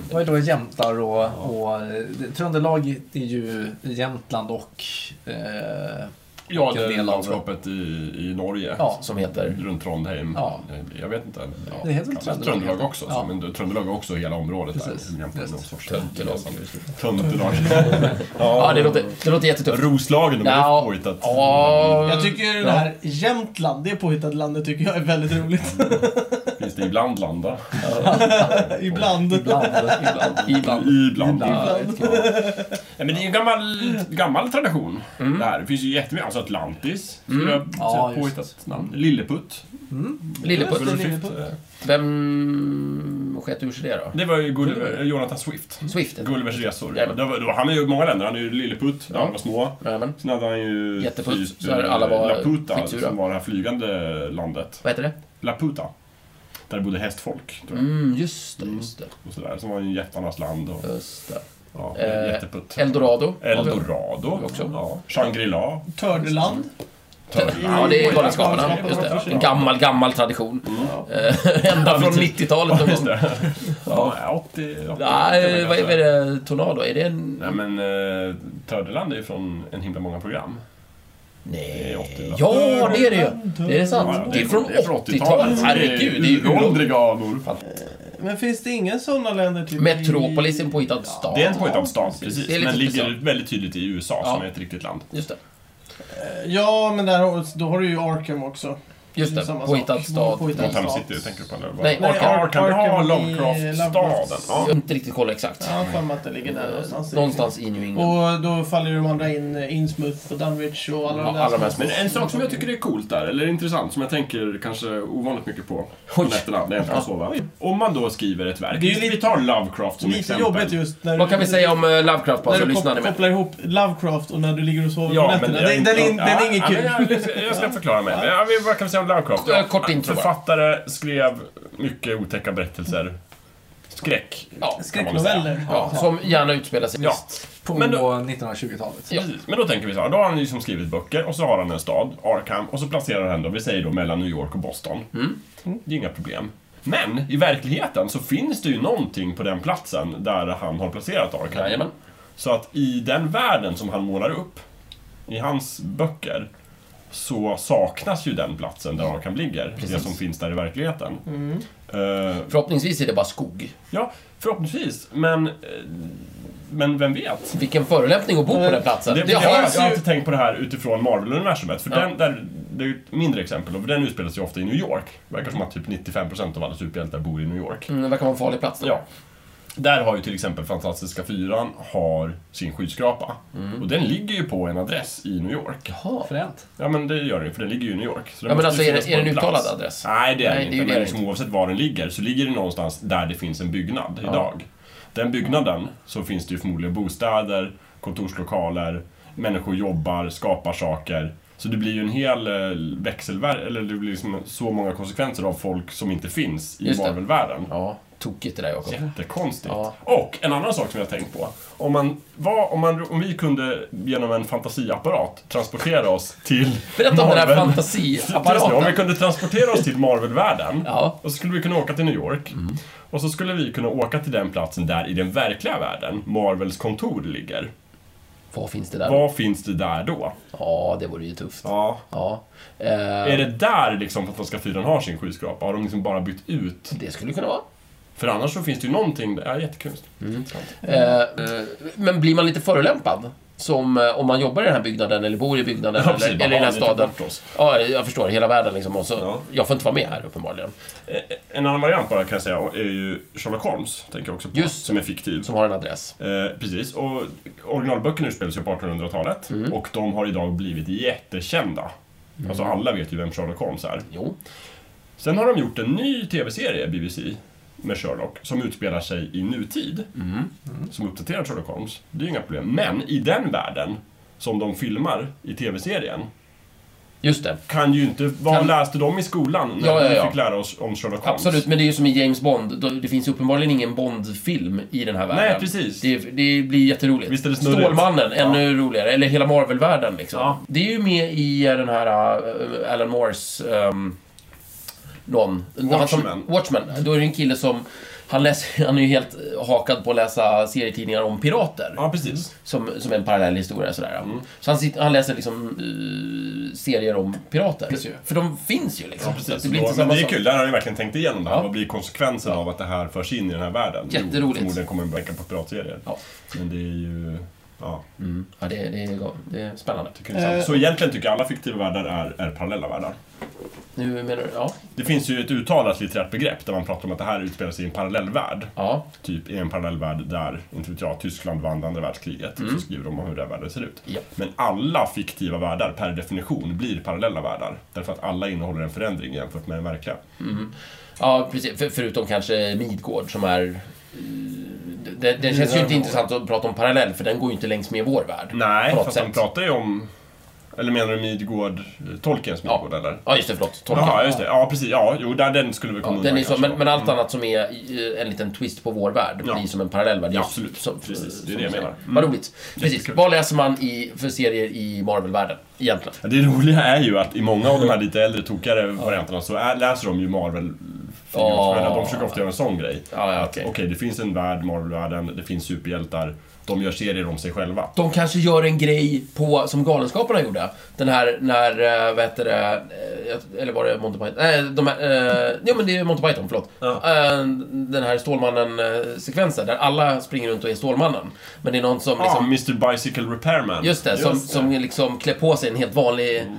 Speaker 3: det var ju då jämtar och... och det- Tröndelag är ju Jämtland och... Eh,
Speaker 4: Ja,
Speaker 3: Vilken
Speaker 4: det är
Speaker 3: del av-
Speaker 4: landskapet i, i Norge.
Speaker 3: ja,
Speaker 2: Som heter...
Speaker 4: Runt Trondheim. Eh,
Speaker 3: Ja.
Speaker 4: Jag vet inte. Ja.
Speaker 3: Det heter väl
Speaker 4: Ja,
Speaker 3: Tröndelag?
Speaker 4: Tröndelag också. så-
Speaker 3: Ja.
Speaker 4: Men Tröndelag är också hela området
Speaker 3: Precis.
Speaker 4: där. Jämtland är någon
Speaker 3: Just.
Speaker 4: sorts-
Speaker 2: Töntelag.
Speaker 4: Töntelag.
Speaker 2: Ja, det låter, det låter jättetufft.
Speaker 4: Roslagen, de
Speaker 2: Ja.
Speaker 4: är påhittat.
Speaker 2: Ja,
Speaker 1: Jag tycker det här Jämtland, det påhittade landet, tycker jag är väldigt roligt.
Speaker 4: Finns det ibland landa?
Speaker 1: Ibland.
Speaker 3: ibland. ibland.
Speaker 2: Ibland. Ibland.
Speaker 4: Ibland. Ja, men det är ju en gammal, gammal tradition. Det här. Det finns ju jättemycket. Alltså Atlantis. Mm. Jag
Speaker 3: Ja,
Speaker 4: ja,
Speaker 3: just
Speaker 4: påhittat namn. Lilleputt.
Speaker 2: Lilleputt.
Speaker 4: Gulliver Swift.
Speaker 2: Vem sket ur sig det då?
Speaker 4: Det var ju Gulliver, Jonathan Swift.
Speaker 2: Swift?
Speaker 4: Gullivers resor.
Speaker 2: Jajamän.
Speaker 4: Det var, det var, han är ju i många länder. Han är ju Lilleputt, där
Speaker 2: Ja.
Speaker 4: han var små.
Speaker 2: Jajamän.
Speaker 4: Sen hade han ju
Speaker 2: Jätteputt,
Speaker 4: just,
Speaker 2: där alla var
Speaker 4: Laputa,
Speaker 2: skitsura.
Speaker 4: som var det här flygande landet.
Speaker 2: Vad heter det?
Speaker 4: Laputa. Där det bodde hästfolk, tror jag.
Speaker 2: Mm, just det, just det.
Speaker 4: Och sådär. Som var ju jättarnas land och
Speaker 2: Just det.
Speaker 4: ja,
Speaker 2: Eh,
Speaker 4: jätteputt.
Speaker 2: Eldorado.
Speaker 4: Eldorado också. Ja. Shangri-La.
Speaker 1: Tördeland.
Speaker 2: Ja, det är Galenskaparna. Just det. En gammal, gammal tradition. Eh, Ända från 90-talet någon gång.
Speaker 4: Ja, 80... 80
Speaker 2: Nej, vad är vad är
Speaker 4: kanske.
Speaker 2: det? Tornado? Är det en...
Speaker 4: Nej men eh, Tördeland är ju från en himla många program. Det
Speaker 2: Nej.
Speaker 4: är 80-talet.
Speaker 2: Ja, det är det ju. Det är sant. Det är från 80-talet. Herregud, det är ju
Speaker 4: uråldriga anor.
Speaker 1: Men finns det inga sådana länder? Typ
Speaker 2: Metropolis,
Speaker 1: i-
Speaker 2: en påhittad stad.
Speaker 4: Det är en påhittad stat, precis.
Speaker 2: Det är lite
Speaker 4: men ligger
Speaker 2: speciellt.
Speaker 4: väldigt tydligt i USA,
Speaker 2: Ja.
Speaker 4: som är ett riktigt land.
Speaker 2: Just det.
Speaker 1: Ja, men där, har- då har du ju Arkham också.
Speaker 2: Just
Speaker 1: Det är
Speaker 2: det,
Speaker 1: samma
Speaker 2: påhittad
Speaker 1: sak.
Speaker 2: stad.
Speaker 1: Påhittad.
Speaker 2: Nej,
Speaker 4: Gotham
Speaker 1: Ja.
Speaker 4: City, tänker du på nu?
Speaker 2: Nej,
Speaker 1: Nej,
Speaker 2: Arkham.
Speaker 1: Ar-
Speaker 4: Arkham, ja,
Speaker 1: Arkham i
Speaker 4: Lovecraft-staden.
Speaker 1: Lovecraft.
Speaker 2: Jag
Speaker 4: Ja.
Speaker 2: har inte riktigt koll exakt.
Speaker 1: Jag har för mig att det ligger där någonstans.
Speaker 2: Någonstans i New England.
Speaker 1: Och då faller ju de andra in, eh, Innsmouth och Dunwich och alla
Speaker 2: Ja,
Speaker 1: de där.
Speaker 2: alla
Speaker 1: som-
Speaker 2: de här små.
Speaker 4: Men en sak som jag tycker är coolt där, eller intressant, som jag tänker kanske ovanligt mycket på på
Speaker 2: Oj.
Speaker 4: nätterna när jag inte kan sova. Om man då skriver ett verk,
Speaker 1: Det är ju
Speaker 4: vi tar Lovecraft som
Speaker 1: Lite
Speaker 4: exempel. Alltså,
Speaker 1: jobbigt just när
Speaker 2: Vad kan vi
Speaker 1: du-
Speaker 2: säga om eh, Lovecraft bara
Speaker 1: när
Speaker 2: så
Speaker 1: du
Speaker 2: lyssnar ni
Speaker 1: kop-
Speaker 2: med?
Speaker 1: kopplar ihop Lovecraft och när du ligger och sover på
Speaker 4: Ja, men
Speaker 1: nätterna. Den, den, är- den är inget kul.
Speaker 4: Ja, men jag, jag ska förklara mig. Ja, vi- vad kan vi säga om Lovecraft?
Speaker 2: Ja, kort intro bara.
Speaker 4: Författare, skrev mycket otäcka berättelser. Skräck. kan man väl säga.
Speaker 1: Skräcknoveller.
Speaker 2: Ja, som gärna utspelar sig.
Speaker 4: Ja.
Speaker 3: På
Speaker 4: Men då-
Speaker 3: 1920-talet.
Speaker 2: Ja.
Speaker 4: Precis. Men då tänker vi så här, då har han ju som skrivit böcker och så har han en stad, Arkham, och så placerar han då, vi säger då mellan New York och Boston. Det är inga problem. Men i verkligheten så finns det ju någonting på den platsen där han har placerat Arkham.
Speaker 2: Jajamän.
Speaker 4: Så att i den världen som han målar upp, i hans böcker, så saknas ju den platsen där Arkham ligger. Det som finns där i verkligheten. Eh,
Speaker 2: Förhoppningsvis är det bara skog.
Speaker 4: ja, förhoppningsvis. Men, eh, men vem vet?
Speaker 2: Vilken förolämpning att bo på den
Speaker 4: Det,
Speaker 2: platsen.
Speaker 4: Eh, det,
Speaker 2: Det
Speaker 4: jag, har, jag har
Speaker 2: har
Speaker 4: inte tänkt på det här utifrån Marvel-universumet, för
Speaker 2: Ja.
Speaker 4: den, där, det är ju ett mindre exempel, och den utspelar sig ofta i New York. Det verkar som att typ 95% av alla superhjältar bor i New York.
Speaker 2: Mm, Det verkar vara en farlig plats.
Speaker 4: Ja. Där har ju till exempel Fantastiska Fyran har sin skyskrapa. Och den ligger ju på en adress i New York.
Speaker 2: Mm. Jaha.
Speaker 3: Fränt.
Speaker 4: Ja men det gör den ju, för den ligger ju i New York. Så den
Speaker 2: Ja, men
Speaker 4: måste
Speaker 2: alltså,
Speaker 4: ju
Speaker 2: är det-
Speaker 4: finnas på
Speaker 2: är det en
Speaker 4: plats.
Speaker 2: uttalad adress?
Speaker 4: Nej, det är
Speaker 2: Nej,
Speaker 4: den
Speaker 2: det är ju
Speaker 4: inte.
Speaker 2: det
Speaker 4: Men liksom, oavsett var den ligger så ligger den någonstans där det finns en byggnad idag. Den byggnaden så finns det ju förmodligen bostäder, kontorslokaler, människor jobbar, skapar saker. Så det blir ju en hel eh, växelver eller det blir liksom så många konsekvenser av folk som inte finns i
Speaker 2: Just det.
Speaker 4: Marvel-världen.
Speaker 2: Ja, tokigt det där Jakob.
Speaker 4: Jättekonstigt.
Speaker 2: Ja.
Speaker 4: Och en annan sak som jag har tänkt på. Om, man var, om, man, om vi kunde genom en fantasiapparat transportera oss till
Speaker 2: Berätta om den här
Speaker 4: Marvel. Precis, Om vi
Speaker 2: fantasiapparaten.
Speaker 4: kunde transportera oss till Marvel-världen
Speaker 2: Ja. Mm.
Speaker 4: och så skulle vi kunna åka till New York. Och så skulle vi kunna åka till den platsen där i den verkliga världen Marvels kontor ligger.
Speaker 2: Vad finns det där?
Speaker 4: Vad finns det där då?
Speaker 2: Ja, det vore ju tufft.
Speaker 4: Ja.
Speaker 2: Ja. Eh,
Speaker 4: Är det där liksom Fantastiska fyran har sin skyskrapa? Har de liksom bara bytt ut?
Speaker 2: Det skulle kunna vara.
Speaker 4: För annars så finns det ju någonting... Ja, jättekul.
Speaker 2: Eh, men blir man lite förolämpad? Som eh, om man jobbar i den här byggnaden eller bor i byggnaden
Speaker 4: Ja, precis.
Speaker 2: eller, eller i den här
Speaker 4: Bara, ni tar
Speaker 2: staden.
Speaker 4: bort oss.
Speaker 2: Ja, jag förstår. Hela världen liksom. Och så,
Speaker 4: Ja.
Speaker 2: Jag får inte vara med här uppenbarligen.
Speaker 4: Eh, En annan variant bara kan jag säga är ju Sherlock Holmes, tänker jag också på,
Speaker 2: Just det.
Speaker 4: som är fiktiv.
Speaker 2: Som har en adress.
Speaker 4: Eh, precis, och
Speaker 2: Mm.
Speaker 4: originalböckerna utspelar sig på 1800-talet och de har idag blivit jättekända. Alltså alla vet ju vem Sherlock Holmes är.
Speaker 2: Jo.
Speaker 4: Sen har de gjort en ny tv-serie, BBC, med Sherlock, som utspelar sig i nutid.
Speaker 2: Mm.
Speaker 4: som uppdaterar Sherlock Holmes. Det är ju inga problem. Men i den världen som de filmar i tv-serien
Speaker 2: Just det.
Speaker 4: kan ju inte... Vad
Speaker 2: Kan-
Speaker 4: läste de i skolan när
Speaker 2: Ja, ja,
Speaker 4: vi
Speaker 2: ja.
Speaker 4: fick lära oss om Sherlock Holmes?
Speaker 2: Absolut, men det är ju som i James Bond. Då- Det finns ju uppenbarligen ingen Bond-film i den här världen.
Speaker 4: Nej, precis.
Speaker 2: Det, det blir jätteroligt.
Speaker 4: Visst är det snurrigt?
Speaker 2: Stålmannen, ännu roligare. Eller hela Marvel-världen liksom.
Speaker 4: Ja.
Speaker 2: Det är ju med i eh, den här eh, Alan Moores... ehm, någon. Han
Speaker 4: Watchmen.
Speaker 2: Som, Watchmen. Då är det en kille som... Han, läser, han är ju helt eh, hakad på att läsa serietidningar om pirater.
Speaker 4: Ja, precis.
Speaker 2: Som, som en parallell historia sådär.
Speaker 4: Mm.
Speaker 2: Så han, sitter, han läser liksom eh, serier om pirater. För de finns ju liksom.
Speaker 4: Ja,
Speaker 2: Så att
Speaker 4: precis.
Speaker 2: Det blir
Speaker 4: Då-
Speaker 2: inte
Speaker 4: men
Speaker 2: samma
Speaker 4: det är
Speaker 2: sak.
Speaker 4: kul, där har ni verkligen tänkt igenom det här.
Speaker 2: Ja.
Speaker 4: Vad blir konsekvensen av att det här förs in i den här världen? Jo,
Speaker 2: Jätteroligt.
Speaker 4: Förmodligen kommer det verka på piratserier.
Speaker 2: Ja.
Speaker 4: Men det är ju... Ja,
Speaker 2: Mm. Ja, det, det, är, det är spännande.
Speaker 4: tycker det är sant. Så egentligen tycker jag alla fiktiva världar är, är parallella världar.
Speaker 2: Nu menar du, ja.
Speaker 4: Det finns ju ett uttalat litterärt begrepp där man pratar om att det här utspelar sig i en parallell värld.
Speaker 2: Ja,
Speaker 4: typ i en parallell värld där, inte vet jag, Tyskland vann andra världskriget. Så skriver de om hur den världen ser ut.
Speaker 2: Mm. Ja.
Speaker 4: Men alla fiktiva världar per definition blir parallella världar. Därför att alla innehåller en förändring jämfört med den verkliga.
Speaker 2: ja precis. För, förutom kanske Midgård som är... eh, Det, det känns ju inte intressant att prata om parallell, för den går ju inte längs med vår värld.
Speaker 4: Nej,
Speaker 2: på något
Speaker 4: fast de
Speaker 2: sätt.
Speaker 4: pratar ju om... Eller menar du Midgård, eh, Tolkiens Midgård eller?
Speaker 2: Ja, just det, förlåt. Tolkien.
Speaker 4: Ja, just det. Ja, precis. Ja, jo, där, den skulle vi
Speaker 2: Ja,
Speaker 4: komma
Speaker 2: den
Speaker 4: undan
Speaker 2: är så,
Speaker 4: kanske
Speaker 2: men,
Speaker 4: då.
Speaker 2: men allt annat som är eh, en liten twist på vår värld
Speaker 4: Mm. Ja.
Speaker 2: blir som en parallell värld.
Speaker 4: Ja,
Speaker 2: just
Speaker 4: absolut.
Speaker 2: som-
Speaker 4: Precis, det är
Speaker 2: som
Speaker 4: det jag
Speaker 2: du säger.
Speaker 4: menar. Mm.
Speaker 2: Vad roligt. Precis.
Speaker 4: Jättekul.
Speaker 2: Vad läser man i, för serier i Marvel-världen egentligen?
Speaker 4: Ja, Det roliga är ju att i många av de här lite äldre, tokigare varianterna så är, läser de ju Marvel
Speaker 2: Ja.
Speaker 4: oh. De försöker ofta göra en sån grej.
Speaker 2: Ja, ja,
Speaker 4: Att,
Speaker 2: okej.
Speaker 4: Okej, det finns en värld, Marvel-världen, det finns superhjältar. De gör serier om sig själva.
Speaker 2: De kanske gör en grej på, som Galenskaparna gjorde. Den här, när, eh, vad heter det, eh, eller var det Monty Python? Nej, de här, eh, jo men det är Monty Python, förlåt. Eh, Den här Stålmannen-sekvensen, där alla springer runt och är Stålmannen. Men det är någon som
Speaker 4: Liksom
Speaker 2: liksom,
Speaker 4: Mr Bicycle Repairman.
Speaker 2: just det, som, som liksom klär på sig en helt vanlig,
Speaker 4: Mm.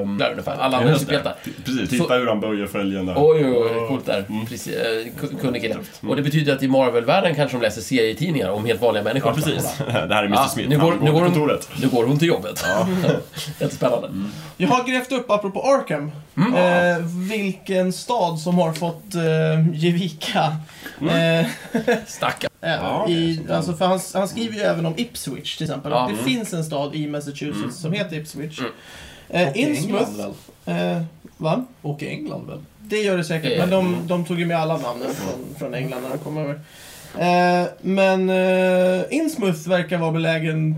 Speaker 2: ehm, där ungefär. Alla andra är
Speaker 4: Just det.
Speaker 2: superhjältar.
Speaker 4: Precis,
Speaker 2: Så-
Speaker 4: titta hur han böjer följen där.
Speaker 2: Oj, oj, oj, coolt där.
Speaker 4: Mm.
Speaker 2: Precis, eh, ku- kunnig kille. Och det betyder att i Marvel-världen kanske de läser serietidningar om helt vanliga människor.
Speaker 4: Ja, precis. det här är Mr
Speaker 2: Ja,
Speaker 4: Smith.
Speaker 2: nu,
Speaker 4: han
Speaker 2: går, nu,
Speaker 4: till
Speaker 2: går hon,
Speaker 4: kontoret.
Speaker 2: nu går hon till jobbet. Jättespännande.
Speaker 4: Mm.
Speaker 1: Jag har grävt upp, apropå Arkham, eh, vilken stad som har fått eh, ge vika. Eh,
Speaker 2: Stackarn.
Speaker 1: Eh,
Speaker 4: Ja,
Speaker 1: i, alltså för han, han skriver ju även om Ipswich till exempel.
Speaker 2: Ja.
Speaker 1: Det
Speaker 2: Mm.
Speaker 1: finns en stad i Massachusetts som heter Ipswich.
Speaker 2: Mm.
Speaker 3: Och
Speaker 1: Eh,
Speaker 3: i England
Speaker 1: Innsmouth,
Speaker 3: väl?
Speaker 1: eh, va?
Speaker 3: Och i England väl?
Speaker 1: Det gör det säkert,
Speaker 2: Eh,
Speaker 1: men de, de tog ju med alla namnen från, från England när de kom över. Eh, men eh, Innsmouth verkar vara belägen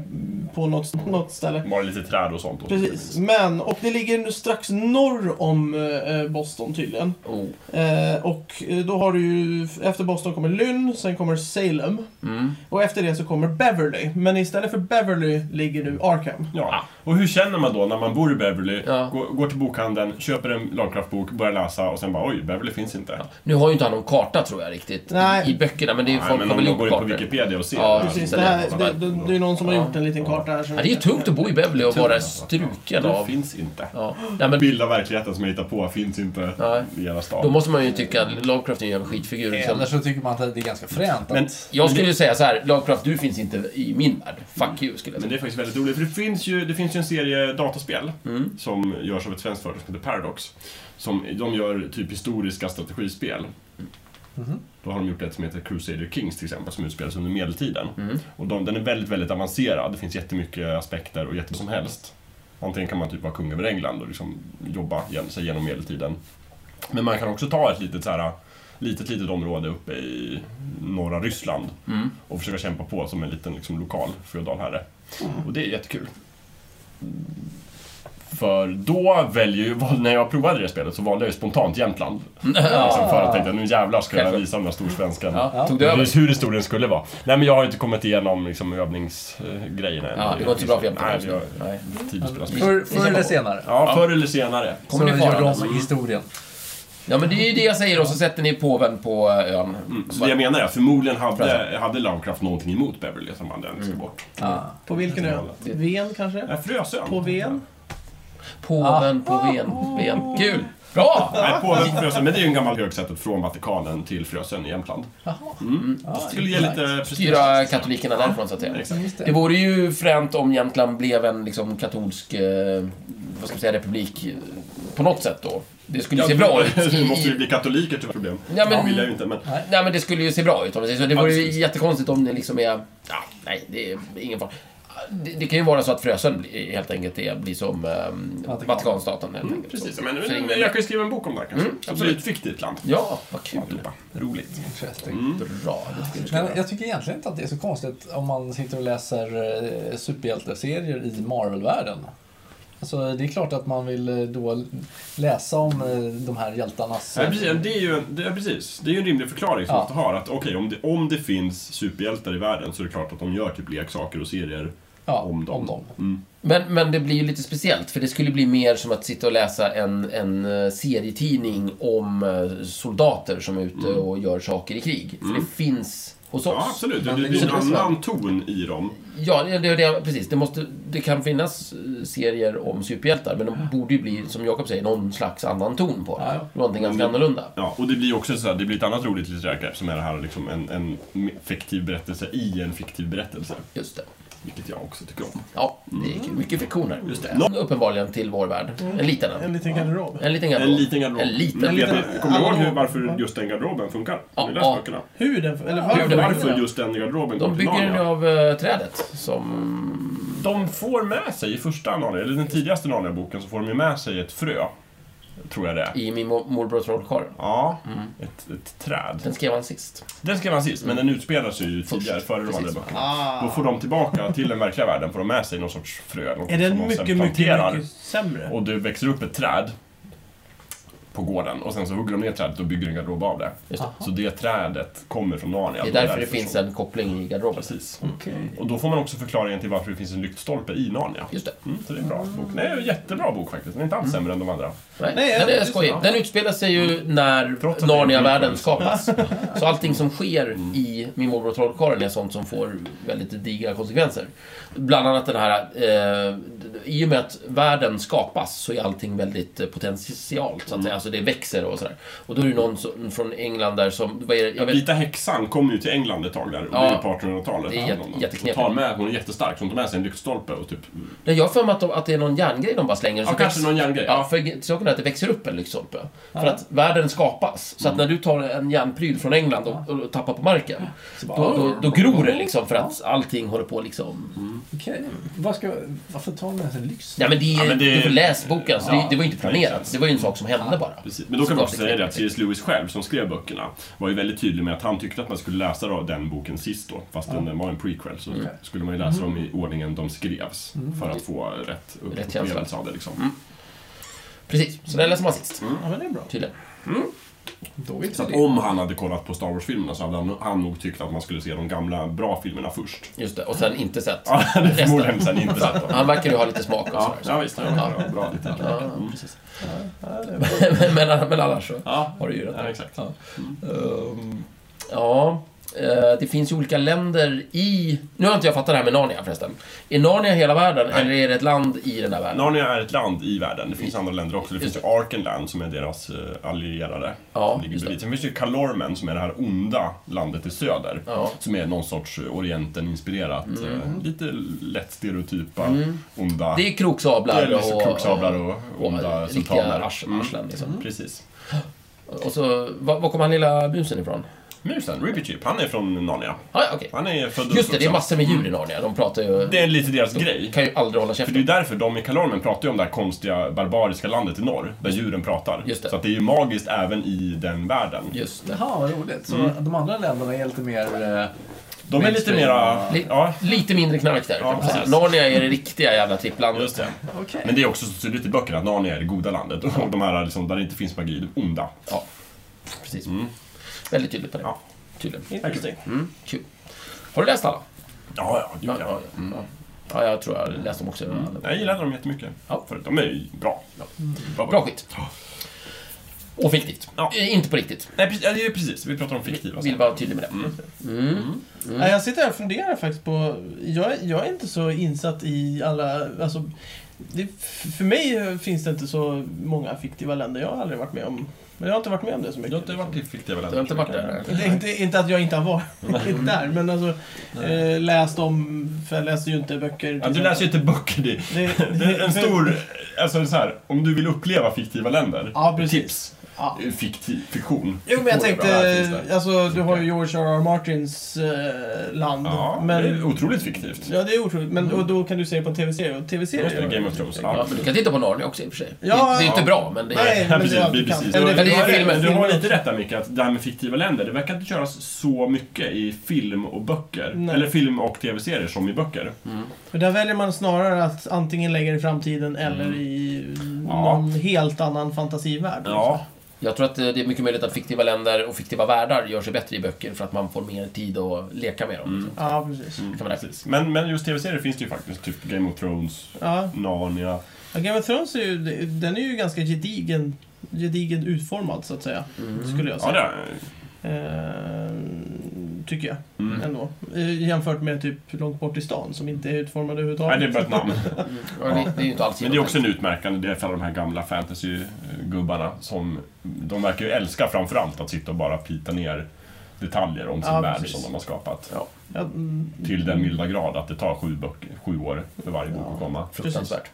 Speaker 1: på något, något ställe.
Speaker 4: Bara lite träd och sånt.
Speaker 1: Precis, men och det ligger nu strax norr om eh, Boston tydligen.
Speaker 2: Oh.
Speaker 1: Eh, och eh, då har du ju, efter Boston kommer Lynn, sen kommer Salem.
Speaker 2: Mm.
Speaker 1: Och efter det så kommer Beverly. Men istället för Beverly ligger nu Arkham.
Speaker 4: Ja. Och hur känner man då när man bor i Beverly,
Speaker 2: Ja.
Speaker 4: går, går till bokhandeln, köper en lagkraftbok, börjar läsa och sen bara oj, Beverly finns inte.
Speaker 2: Nu har ju inte han någon karta tror jag riktigt
Speaker 1: Nej.
Speaker 2: i, i böckerna, men det är ju
Speaker 4: Nej,
Speaker 2: folk
Speaker 4: men
Speaker 2: har väl
Speaker 4: om de
Speaker 2: gjort
Speaker 4: går in på
Speaker 2: kartor.
Speaker 4: Wikipedia och ser.
Speaker 2: Ja,
Speaker 4: här.
Speaker 1: Precis,
Speaker 2: precis.
Speaker 1: det, här, det, det, det är någon som har gjort en liten karta här. Som
Speaker 2: Ja, det är ju tungt att bo i Beverly och vara struken
Speaker 4: Det
Speaker 2: av...
Speaker 4: finns inte.
Speaker 2: Ja. Nej, men
Speaker 4: Bild av verkligheten som jag hittar på finns inte
Speaker 2: Nej.
Speaker 4: i hela
Speaker 2: då
Speaker 4: stan.
Speaker 2: måste man ju tycka att Lovecraft är en jävla skitfigur. Liksom.
Speaker 3: Eller så tycker man att det är ganska fränt
Speaker 4: Men,
Speaker 3: att...
Speaker 2: Jag skulle ju säga så här, Lovecraft, du finns inte i min värld. Fuck you, skulle jag säga.
Speaker 4: men det är faktiskt väldigt roligt, för det finns ju, det finns ju en serie dataspel som görs av ett svenskt företag som heter Paradox. Som, de gör typ historiska strategispel. Då har de gjort ett som heter Crusader Kings till exempel, som utspelas under medeltiden.
Speaker 2: Mm.
Speaker 4: Och de, den är väldigt, väldigt avancerad. Det finns jättemycket aspekter och jättemycket som helst. Antingen kan man typ vara kung över England och liksom jobba igen, sig genom medeltiden. Men man kan också ta ett litet, så här, litet, litet område uppe i norra Ryssland
Speaker 2: Mm.
Speaker 4: och försöka kämpa på som en liten liksom, lokal feodal herre.
Speaker 2: Mm.
Speaker 4: Och det är jättekul. För då väljer ju, när jag provade det spelet så valde jag ju spontant Jämtland.
Speaker 2: Mm.
Speaker 4: Liksom för att tänkte nu jävlar ska jag
Speaker 2: Självklart.
Speaker 4: visa den här storsvenskan
Speaker 2: Ah. Ja, tog du över?
Speaker 4: hur, hur historien skulle vara. Nej men jag har inte kommit igenom liksom, övningsgrejerna än.
Speaker 2: Ja, det var inte så bra för
Speaker 4: Nej,
Speaker 2: Jämtland.
Speaker 4: vi har
Speaker 2: Nej. Mm.
Speaker 4: tid att spela spel.
Speaker 3: Förr, förr eller senare.
Speaker 4: Ja, förr eller senare.
Speaker 2: Kommer ni
Speaker 3: så gör
Speaker 2: fara?
Speaker 3: de
Speaker 2: alltså?
Speaker 3: historien.
Speaker 2: Ja, men det är ju det jag säger och så sätter ni påven på ön.
Speaker 4: Så det jag menar är att förmodligen hade, hade Lovecraft någonting emot Beverly som han den
Speaker 2: Mm.
Speaker 4: ska bort. Äh,
Speaker 3: Ah.
Speaker 1: På vilken ö?
Speaker 2: Det-
Speaker 1: Ven kanske?
Speaker 4: Nej, Frösön.
Speaker 1: På Ven?
Speaker 2: Påven på Ven. Ven. Kul! Bra!
Speaker 4: Nej, påven på Frösön. Men det är ju en gammal högsätet från Vatikanen till Frösön i Jämtland.
Speaker 3: Ja,
Speaker 4: Det skulle ge lite
Speaker 2: Styra
Speaker 4: prestige.
Speaker 2: katolikerna därifrån så att säga.
Speaker 4: Exakt.
Speaker 3: Just
Speaker 2: Det
Speaker 3: det.
Speaker 2: vore ju fränt om Jämtland blev en liksom katolsk eh, vad ska man säga, republik eh, på något sätt då. Det skulle ju
Speaker 4: Ja,
Speaker 2: se bra ut.
Speaker 4: Nu måste
Speaker 2: i-
Speaker 4: vi bli katoliker tyvärr, problem.
Speaker 2: Ja, men-
Speaker 4: Det vill jag ju inte, men...
Speaker 2: Nej men det skulle ju se bra ut om man säger så. Det vore ju
Speaker 4: precis.
Speaker 2: jättekonstigt om det liksom är... Ja, nej, det är ingen fara. Det, det kan ju vara så att frösen blir- helt enkelt är, blir som ehm,
Speaker 3: Vatikan.
Speaker 2: Vatikanstaten helt enkelt.
Speaker 4: Mm, Precis,
Speaker 2: Så-
Speaker 4: men,
Speaker 2: så
Speaker 4: men
Speaker 2: ingen-
Speaker 4: jag kan ju skriva en bok om det här kanske.
Speaker 2: Mm, absolut.
Speaker 4: Absolut, fiktivt land.
Speaker 2: Ja, vad kul.
Speaker 4: Alltihopa. Roligt.
Speaker 3: Interesting.
Speaker 2: Bra, det skulle du
Speaker 3: Men
Speaker 2: skriva.
Speaker 3: jag tycker egentligen inte att det är så konstigt om man sitter och läser eh, superhjälteserier i Marvel-världen. Alltså, det är klart att man vill eh, då läsa om eh, de här hjältarnas...
Speaker 4: Ja, precis, det är ju en, det, ja, precis. Det är ju en rimlig förklaring som
Speaker 3: Ja.
Speaker 4: ofta har. Att okej, om, det, om det finns superhjältar i världen så är det klart att de gör typ leksaker och serier
Speaker 3: ja,
Speaker 4: om dem.
Speaker 3: Om dem.
Speaker 4: Mm.
Speaker 2: Men, men det blir ju lite speciellt, för det skulle bli mer som att sitta och läsa en, en eh, serietidning om eh, soldater som är ute och gör saker i krig. För det finns hos
Speaker 4: Mm. Ja,
Speaker 2: oss.
Speaker 4: absolut. Det
Speaker 3: Men
Speaker 4: blir
Speaker 3: det
Speaker 4: ju en
Speaker 2: är så.
Speaker 4: annan ton i dem.
Speaker 2: Ja, det, det, det, precis. Det, måste, det kan finnas eh, serier om superhjältar, men de borde ju bli, som Jakob säger, någon slags annan ton på det.
Speaker 3: Ja, ja.
Speaker 2: Någonting ganska
Speaker 4: Mm.
Speaker 2: annorlunda.
Speaker 4: Ja, och det blir ju också så här, det blir ett annat roligt litterärt grepp som är det här liksom en, en fiktiv berättelse i en fiktiv berättelse.
Speaker 2: Just det.
Speaker 4: Vilket jag också tycker om.
Speaker 2: Ja, det är kul. mycket fiktion här.
Speaker 4: Just det.
Speaker 2: Eh, Uppenbarligen till vår värld. En liten
Speaker 1: En
Speaker 2: en.
Speaker 1: liten garderob.
Speaker 2: En liten garderob.
Speaker 4: En liten garderob.
Speaker 2: En liten.
Speaker 4: Men vet
Speaker 1: En
Speaker 4: ni,
Speaker 1: liten-
Speaker 4: kommer ni ihåg
Speaker 1: alla-
Speaker 4: hur, varför just den garderoben funkar? Har ni
Speaker 2: Ja,
Speaker 4: läst
Speaker 2: ja.
Speaker 4: böckerna?
Speaker 1: Hur den... Eller
Speaker 2: Hur den-
Speaker 1: varför?
Speaker 4: Varför just den garderoben
Speaker 2: De
Speaker 4: kom till
Speaker 2: bygger den ju
Speaker 4: Narnia?
Speaker 2: av eh, trädet som...
Speaker 4: De får med sig i första Narnia, eller den tidigaste Narnia-boken, så får de ju med sig ett frö. Tror jag det är.
Speaker 2: I Mm. min mo- morbror trollkarlen.
Speaker 4: Ja, ett, ett träd.
Speaker 2: Den skrev han sist.
Speaker 4: Den skrev han sist, men den utspelar sig ju tidigare, före de
Speaker 2: Mm. Precis.
Speaker 4: andra böckerna. Då
Speaker 1: Ah.
Speaker 4: får de tillbaka till den verkliga världen, får de med sig någon sorts frö. något
Speaker 1: Är
Speaker 4: som de
Speaker 1: den
Speaker 4: sen
Speaker 1: mycket, mycket,
Speaker 4: planterar.
Speaker 1: mycket sämre?
Speaker 4: Och det växer upp ett träd på gården och sen så hugger de ner trädet och bygger en garderob av det.
Speaker 2: Just
Speaker 4: Så det trädet kommer från Narnia.
Speaker 2: Det är
Speaker 4: då
Speaker 2: därför det finns
Speaker 4: så-
Speaker 2: en koppling i garderoben. Mm.
Speaker 4: Precis.
Speaker 1: Okej.
Speaker 4: Och då får man också förklaringen till varför det finns en lyktstolpe i Narnia.
Speaker 2: Just det. Mm.
Speaker 4: Mm, så det är en bra bok. Det är en jättebra bok faktiskt. Den är inte alls sämre än de andra.
Speaker 2: Nej,
Speaker 1: Nej,
Speaker 2: den
Speaker 1: ja,
Speaker 2: är
Speaker 1: just
Speaker 2: skojig.
Speaker 4: det.
Speaker 2: Den utspelar sig ju när
Speaker 4: Trots att det är
Speaker 2: Narnia-världen
Speaker 4: en
Speaker 2: skapas. Så allting som sker
Speaker 4: Mm.
Speaker 2: i Min morbror trollkarlen är sånt som får väldigt digra konsekvenser. Bland annat den här... Eh, I och med att världen skapas så är allting väldigt eh, potentialt, så att
Speaker 4: Mm.
Speaker 2: säga. Alltså det växer och sådär. Och då är det någon som, från England där som... Vad är det? Jag vet,
Speaker 4: Vita häxan kom ju till England ett tag där. Och
Speaker 2: Ja.
Speaker 4: det är ju på 1800-talet.
Speaker 2: Det är jätte- jätteknepigt.
Speaker 4: Och tar med, hon är jättestark, så hon tar med sig en lyktstolpe och typ...
Speaker 2: nej, jag har för mig att, de, att det är någon järngrej de bara slänger. och
Speaker 4: Ja,
Speaker 2: så
Speaker 4: kanske
Speaker 2: växer-
Speaker 4: någon järngrej.
Speaker 2: Alltså, Ja, för saken är att det växer upp en lyktstolpe. För att världen skapas. Så att när du tar en järnpryl från England och, och tappar på marken, då, då, då gror det liksom för att allting håller på liksom...
Speaker 3: Okej. Vad ska- Varför tar man ens en lyx?
Speaker 2: Ja, men det,
Speaker 4: Ja, men det-
Speaker 2: Du får läs boken, så det, det var ju inte
Speaker 4: det
Speaker 2: planerat.
Speaker 4: känns-
Speaker 2: Det var ju en sak som hände bara.
Speaker 4: Precis. Men då kan man också
Speaker 2: Såklart,
Speaker 4: säga det att
Speaker 2: exakt.
Speaker 4: C.S. Lewis själv, som skrev böckerna, var ju väldigt tydlig med att han tyckte att man skulle läsa då den boken sist då. Fast den var en prequel så
Speaker 2: Mm.
Speaker 4: skulle man ju läsa dem i ordningen de skrevs. För att få rätt
Speaker 2: känsla. Mm.
Speaker 4: upplevelse av det liksom.
Speaker 2: Precis, så den läser man sist.
Speaker 4: Mm.
Speaker 1: Ja, men det är bra.
Speaker 2: Tydligen.
Speaker 3: Då är
Speaker 4: Så
Speaker 3: inte
Speaker 4: att
Speaker 3: det...
Speaker 4: om han hade kollat på Star Wars-filmerna så hade han, han nog tyckt att man skulle se de gamla bra filmerna först.
Speaker 2: Just det, och sen inte sett.
Speaker 4: Ja, det hade förmodligen sen inte sett dem.
Speaker 2: Han verkar ju ha lite smak och
Speaker 4: Ja,
Speaker 2: sådär.
Speaker 4: ja, visst. Ja, bra, bra lite.
Speaker 2: Ja,
Speaker 4: Mm.
Speaker 2: precis. men, men, men annars så
Speaker 4: Ja,
Speaker 2: har du ju rätt.
Speaker 4: ja, exakt.
Speaker 2: Ja. Ehm, ja, eh, det finns ju olika länder i... Nu har inte jag fattat det här med Narnia förresten. Är Narnia hela världen
Speaker 4: Nej.
Speaker 2: eller är det ett land i den där världen?
Speaker 4: Narnia är ett land i världen. Det
Speaker 2: Mm.
Speaker 4: finns andra länder också. Det finns ju Arkenland som är deras eh, allierade.
Speaker 2: Ja,
Speaker 4: som ligger
Speaker 2: just det.
Speaker 4: bredvid. Sen finns ju Kalormen som är det här onda landet i söder.
Speaker 2: Ja. Mm.
Speaker 4: Som är någon sorts eh, Orienten-inspirerat, eh, lite lätt stereotypa, onda...
Speaker 2: Det är kroksablar
Speaker 4: eller så
Speaker 2: och...
Speaker 4: liksom kroksablar och
Speaker 2: och
Speaker 4: onda
Speaker 2: Riktiga
Speaker 4: sultaner. Mm.
Speaker 2: ars, arslen liksom.
Speaker 4: Precis.
Speaker 2: Och så, var, var kommer han lilla musen ifrån?
Speaker 4: Musen, Rippy Chip, han är från Narnia.
Speaker 2: Ah, ja, okej.
Speaker 4: Han är född och
Speaker 2: Just det, det är
Speaker 4: uppvuxen.
Speaker 2: massor med djur i Narnia. De pratar ju...
Speaker 4: Det är lite deras grej.
Speaker 2: kan ju aldrig hålla
Speaker 4: För det är ju
Speaker 2: käften.
Speaker 4: därför de i Kalormen pratar ju om det här konstiga barbariska landet i norr, där djuren pratar.
Speaker 2: Just det.
Speaker 4: Så att det är ju magiskt även i den världen.
Speaker 2: Just det.
Speaker 3: Jaha, vad roligt. Så de andra länderna är lite mer... eh,
Speaker 4: De är lite mera...
Speaker 2: Li-
Speaker 4: Ja,
Speaker 2: Lite mindre knark där, kan man säga.
Speaker 4: precis.
Speaker 2: Narnia är det riktiga jävla tripplandet.
Speaker 4: just det.
Speaker 3: Okej.
Speaker 4: Men det är också så tydligt i böckerna att Narnia är det goda landet och de här liksom, där det inte finns magi, det onda.
Speaker 2: Ja, precis. Väldigt tydligt på det.
Speaker 4: Mm. Ja.
Speaker 2: Tydligen.
Speaker 4: Interesting.
Speaker 2: Mm, kul. Har du läst alla?
Speaker 4: Ja, ja, gud, ja.
Speaker 2: Mm. ja jag tror jag läste dem också.
Speaker 4: Jag gillade dem jättemycket.
Speaker 2: Ja.
Speaker 4: För de är ju bra. Bra,
Speaker 2: Bra
Speaker 4: böcker.
Speaker 2: skit. Och fiktivt.
Speaker 4: Ja.
Speaker 2: Eh, Inte på riktigt.
Speaker 4: Nej, precis, ja, det är ju precis. Vi pratar om fiktiva
Speaker 2: Vill
Speaker 4: saker.
Speaker 2: vara tydlig med det. Mm.
Speaker 4: Mm.
Speaker 1: Nej, jag sitter här och funderar faktiskt på... Jag, jag är inte så insatt i alla... Alltså, det, för mig finns det inte så många fiktiva länder. Jag har aldrig varit med om... Men jag har inte varit med om det så mycket. liksom.
Speaker 4: Du har inte varit i fiktiva länder?
Speaker 2: Du har inte varit där?
Speaker 1: Det är inte, inte att jag inte har varit där, men alltså eh, läst om... För jag läser ju inte böcker.
Speaker 4: Ja, du läser ju inte böcker. Det,
Speaker 1: Det-
Speaker 4: det är en stor... Alltså så här, om du vill uppleva fiktiva länder.
Speaker 1: Ja, precis.
Speaker 4: Tips.
Speaker 1: Ja.
Speaker 4: Fiktiv, fiktion.
Speaker 1: Jo, men jag
Speaker 4: Fiktion är bra, här finns
Speaker 1: tänkte...
Speaker 4: det.
Speaker 1: Alltså, du har ju George R.R. Martins eh, land.
Speaker 4: Ja,
Speaker 1: men,
Speaker 4: det är otroligt fiktivt.
Speaker 1: Ja, det är otroligt. Men och då kan du se det på en tv-serie. Och
Speaker 4: Då
Speaker 1: tv-serier...
Speaker 4: är det Game of Thrones.
Speaker 2: Ja, men du kan titta på Narnia också i och för sig.
Speaker 1: Ja,
Speaker 2: det, det är
Speaker 1: ja.
Speaker 2: inte bra, men det är...
Speaker 1: Nej,
Speaker 4: Ja,
Speaker 1: men det är allt du kan.
Speaker 4: precis.
Speaker 1: Eller
Speaker 4: Du-
Speaker 1: det-
Speaker 4: du
Speaker 2: det är
Speaker 4: har-
Speaker 2: filmen.
Speaker 4: Du har lite rätt där Micke, att det här med fiktiva länder, det verkar inte köras så mycket i film och böcker.
Speaker 1: Nej.
Speaker 4: Eller film och tv-serier som i böcker.
Speaker 2: Mm.
Speaker 1: För där väljer man snarare att antingen lägga det i framtiden
Speaker 4: Mm.
Speaker 1: eller i någon helt annan fantasivärld. liksom.
Speaker 4: Ja,
Speaker 2: Jag tror att eh, det är mycket möjligt att fiktiva länder och fiktiva världar gör sig bättre i böcker för att man får mer tid att leka med dem.
Speaker 1: Ja, precis.
Speaker 2: Det Mm. kan vara
Speaker 4: Mm. precis. Men, men just tv-serier finns det ju faktiskt. Typ Game of Thrones,
Speaker 1: Ja.
Speaker 4: Narnia.
Speaker 1: Ja, Game of Thrones är ju, den är ju ganska gedigen, gedigen utformad, så att säga. Skulle jag
Speaker 4: Mm. Ja,
Speaker 1: säga.
Speaker 4: det är-
Speaker 1: Eh, tycker jag,
Speaker 4: Mm.
Speaker 1: ändå. Eh, jämfört med typ Långt bort i stan, som inte är utformad
Speaker 4: Nej,
Speaker 1: överhuvudtaget.
Speaker 4: det är bara ett namn.
Speaker 2: Ja, det, det är ju inte alls
Speaker 4: Men det är också en utmärkande del för alla de här gamla fantasy-gubbarna som de verkar ju älska framförallt att sitta och bara pita ner detaljer om sin
Speaker 1: Ja,
Speaker 4: värld
Speaker 1: precis.
Speaker 4: som de har skapat.
Speaker 1: Ja, mm,
Speaker 4: Till den milda grad att det tar sju, böcker, sju år för varje bok
Speaker 1: Ja.
Speaker 4: att komma.
Speaker 2: fruktansvärt.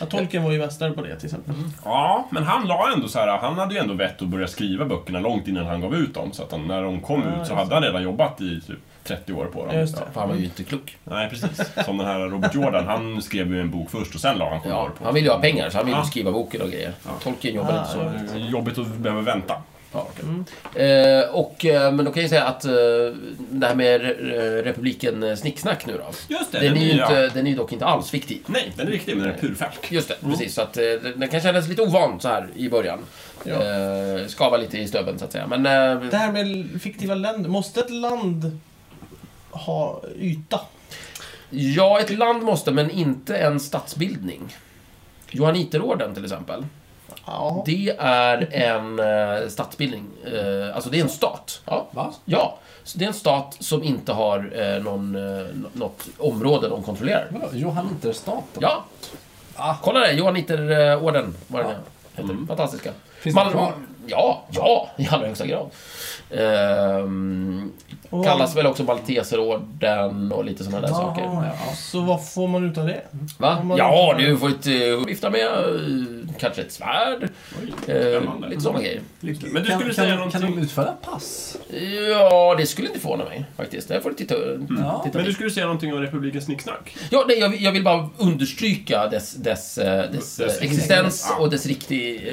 Speaker 1: ja, Tolkien var ju mästare på det, till exempel.
Speaker 4: Mm, Ja, men han la ändå så här, han hade ju ändå vett att börja skriva böckerna långt innan han gav ut dem. Så att han, när de kom
Speaker 1: Ja,
Speaker 4: ut
Speaker 1: just
Speaker 4: så
Speaker 1: det.
Speaker 4: hade han redan jobbat i typ 30 år på dem.
Speaker 1: Just det.
Speaker 2: Ja, för han var ju inte klok.
Speaker 4: Nej, precis. Som den här Robert Jordan, han skrev ju en bok först och sen la han sju år
Speaker 2: Ja,
Speaker 4: på
Speaker 2: han ville ju ha pengar, så han ville ju
Speaker 4: Ja.
Speaker 2: skriva boken och grejer.
Speaker 4: Ja.
Speaker 2: Tolkien jobbade
Speaker 1: Ah,
Speaker 2: inte så.
Speaker 1: ja.
Speaker 4: Det är Jobbigt att behöva vänta.
Speaker 2: Ja, okej. Eh, och, eh, men då kan jag ju säga att eh, det här med re- republiken eh, Snicksnack nu då.
Speaker 4: Just det,
Speaker 2: Den är, ju
Speaker 4: nya.
Speaker 2: inte, den är ju dock inte alls fiktiv.
Speaker 4: Nej, den är riktig, men den är purfärsk.
Speaker 2: Just det, precis. Så att eh, den den kan kännas lite ovan så här i början.
Speaker 1: Ja.
Speaker 2: Eh, skava lite i stöveln så att säga. Men eh,
Speaker 1: Det här med fiktiva länder. Måste ett land ha yta?
Speaker 2: ja, ett land måste, men inte en statsbildning. Johanniterorden till exempel.
Speaker 1: Ja.
Speaker 2: Det är en eh, statsbildning. Eh, alltså det är en stat. Ja.
Speaker 3: Va?
Speaker 2: ja. Så det är en stat som inte har eh, någon, eh, nå- något område de kontrollerar.
Speaker 3: Vadå? Johanniterstaten?
Speaker 2: Ja.
Speaker 3: Ah.
Speaker 2: Kolla det, Johanniterorden var det
Speaker 3: Ja.
Speaker 2: heter. Fantastiska.
Speaker 3: Finns
Speaker 2: Man-
Speaker 3: det kvar?
Speaker 2: Ja, ja, i allra högsta grad. Ehm,
Speaker 1: Och-
Speaker 2: kallas väl också Malteserorden och lite sådana där
Speaker 3: Jaha,
Speaker 2: saker.
Speaker 3: ja.
Speaker 1: Så vad får man ut av det?
Speaker 2: Va?
Speaker 1: Om man-
Speaker 2: Ja, du får ett, eh, vifta med eh, kanske ett svärd. Eh,
Speaker 4: spännande.
Speaker 2: lite sådana grejer.
Speaker 4: Men du
Speaker 3: Kan-
Speaker 4: skulle
Speaker 3: kan,
Speaker 4: säga
Speaker 3: kan
Speaker 4: någonting...
Speaker 3: de utfärda pass?
Speaker 2: Ja, det skulle inte förvåna mig faktiskt. Där får du titta,
Speaker 3: Mm.
Speaker 2: titta
Speaker 3: Ja.
Speaker 4: Men du
Speaker 2: till.
Speaker 4: skulle säga någonting om Republikens Snicksnack?
Speaker 2: Ja, nej, jag, vill- jag vill bara understryka dess, dess, eh, dess,
Speaker 4: Dess
Speaker 2: eh, existens
Speaker 4: existens.
Speaker 2: och dess, riktig, eh,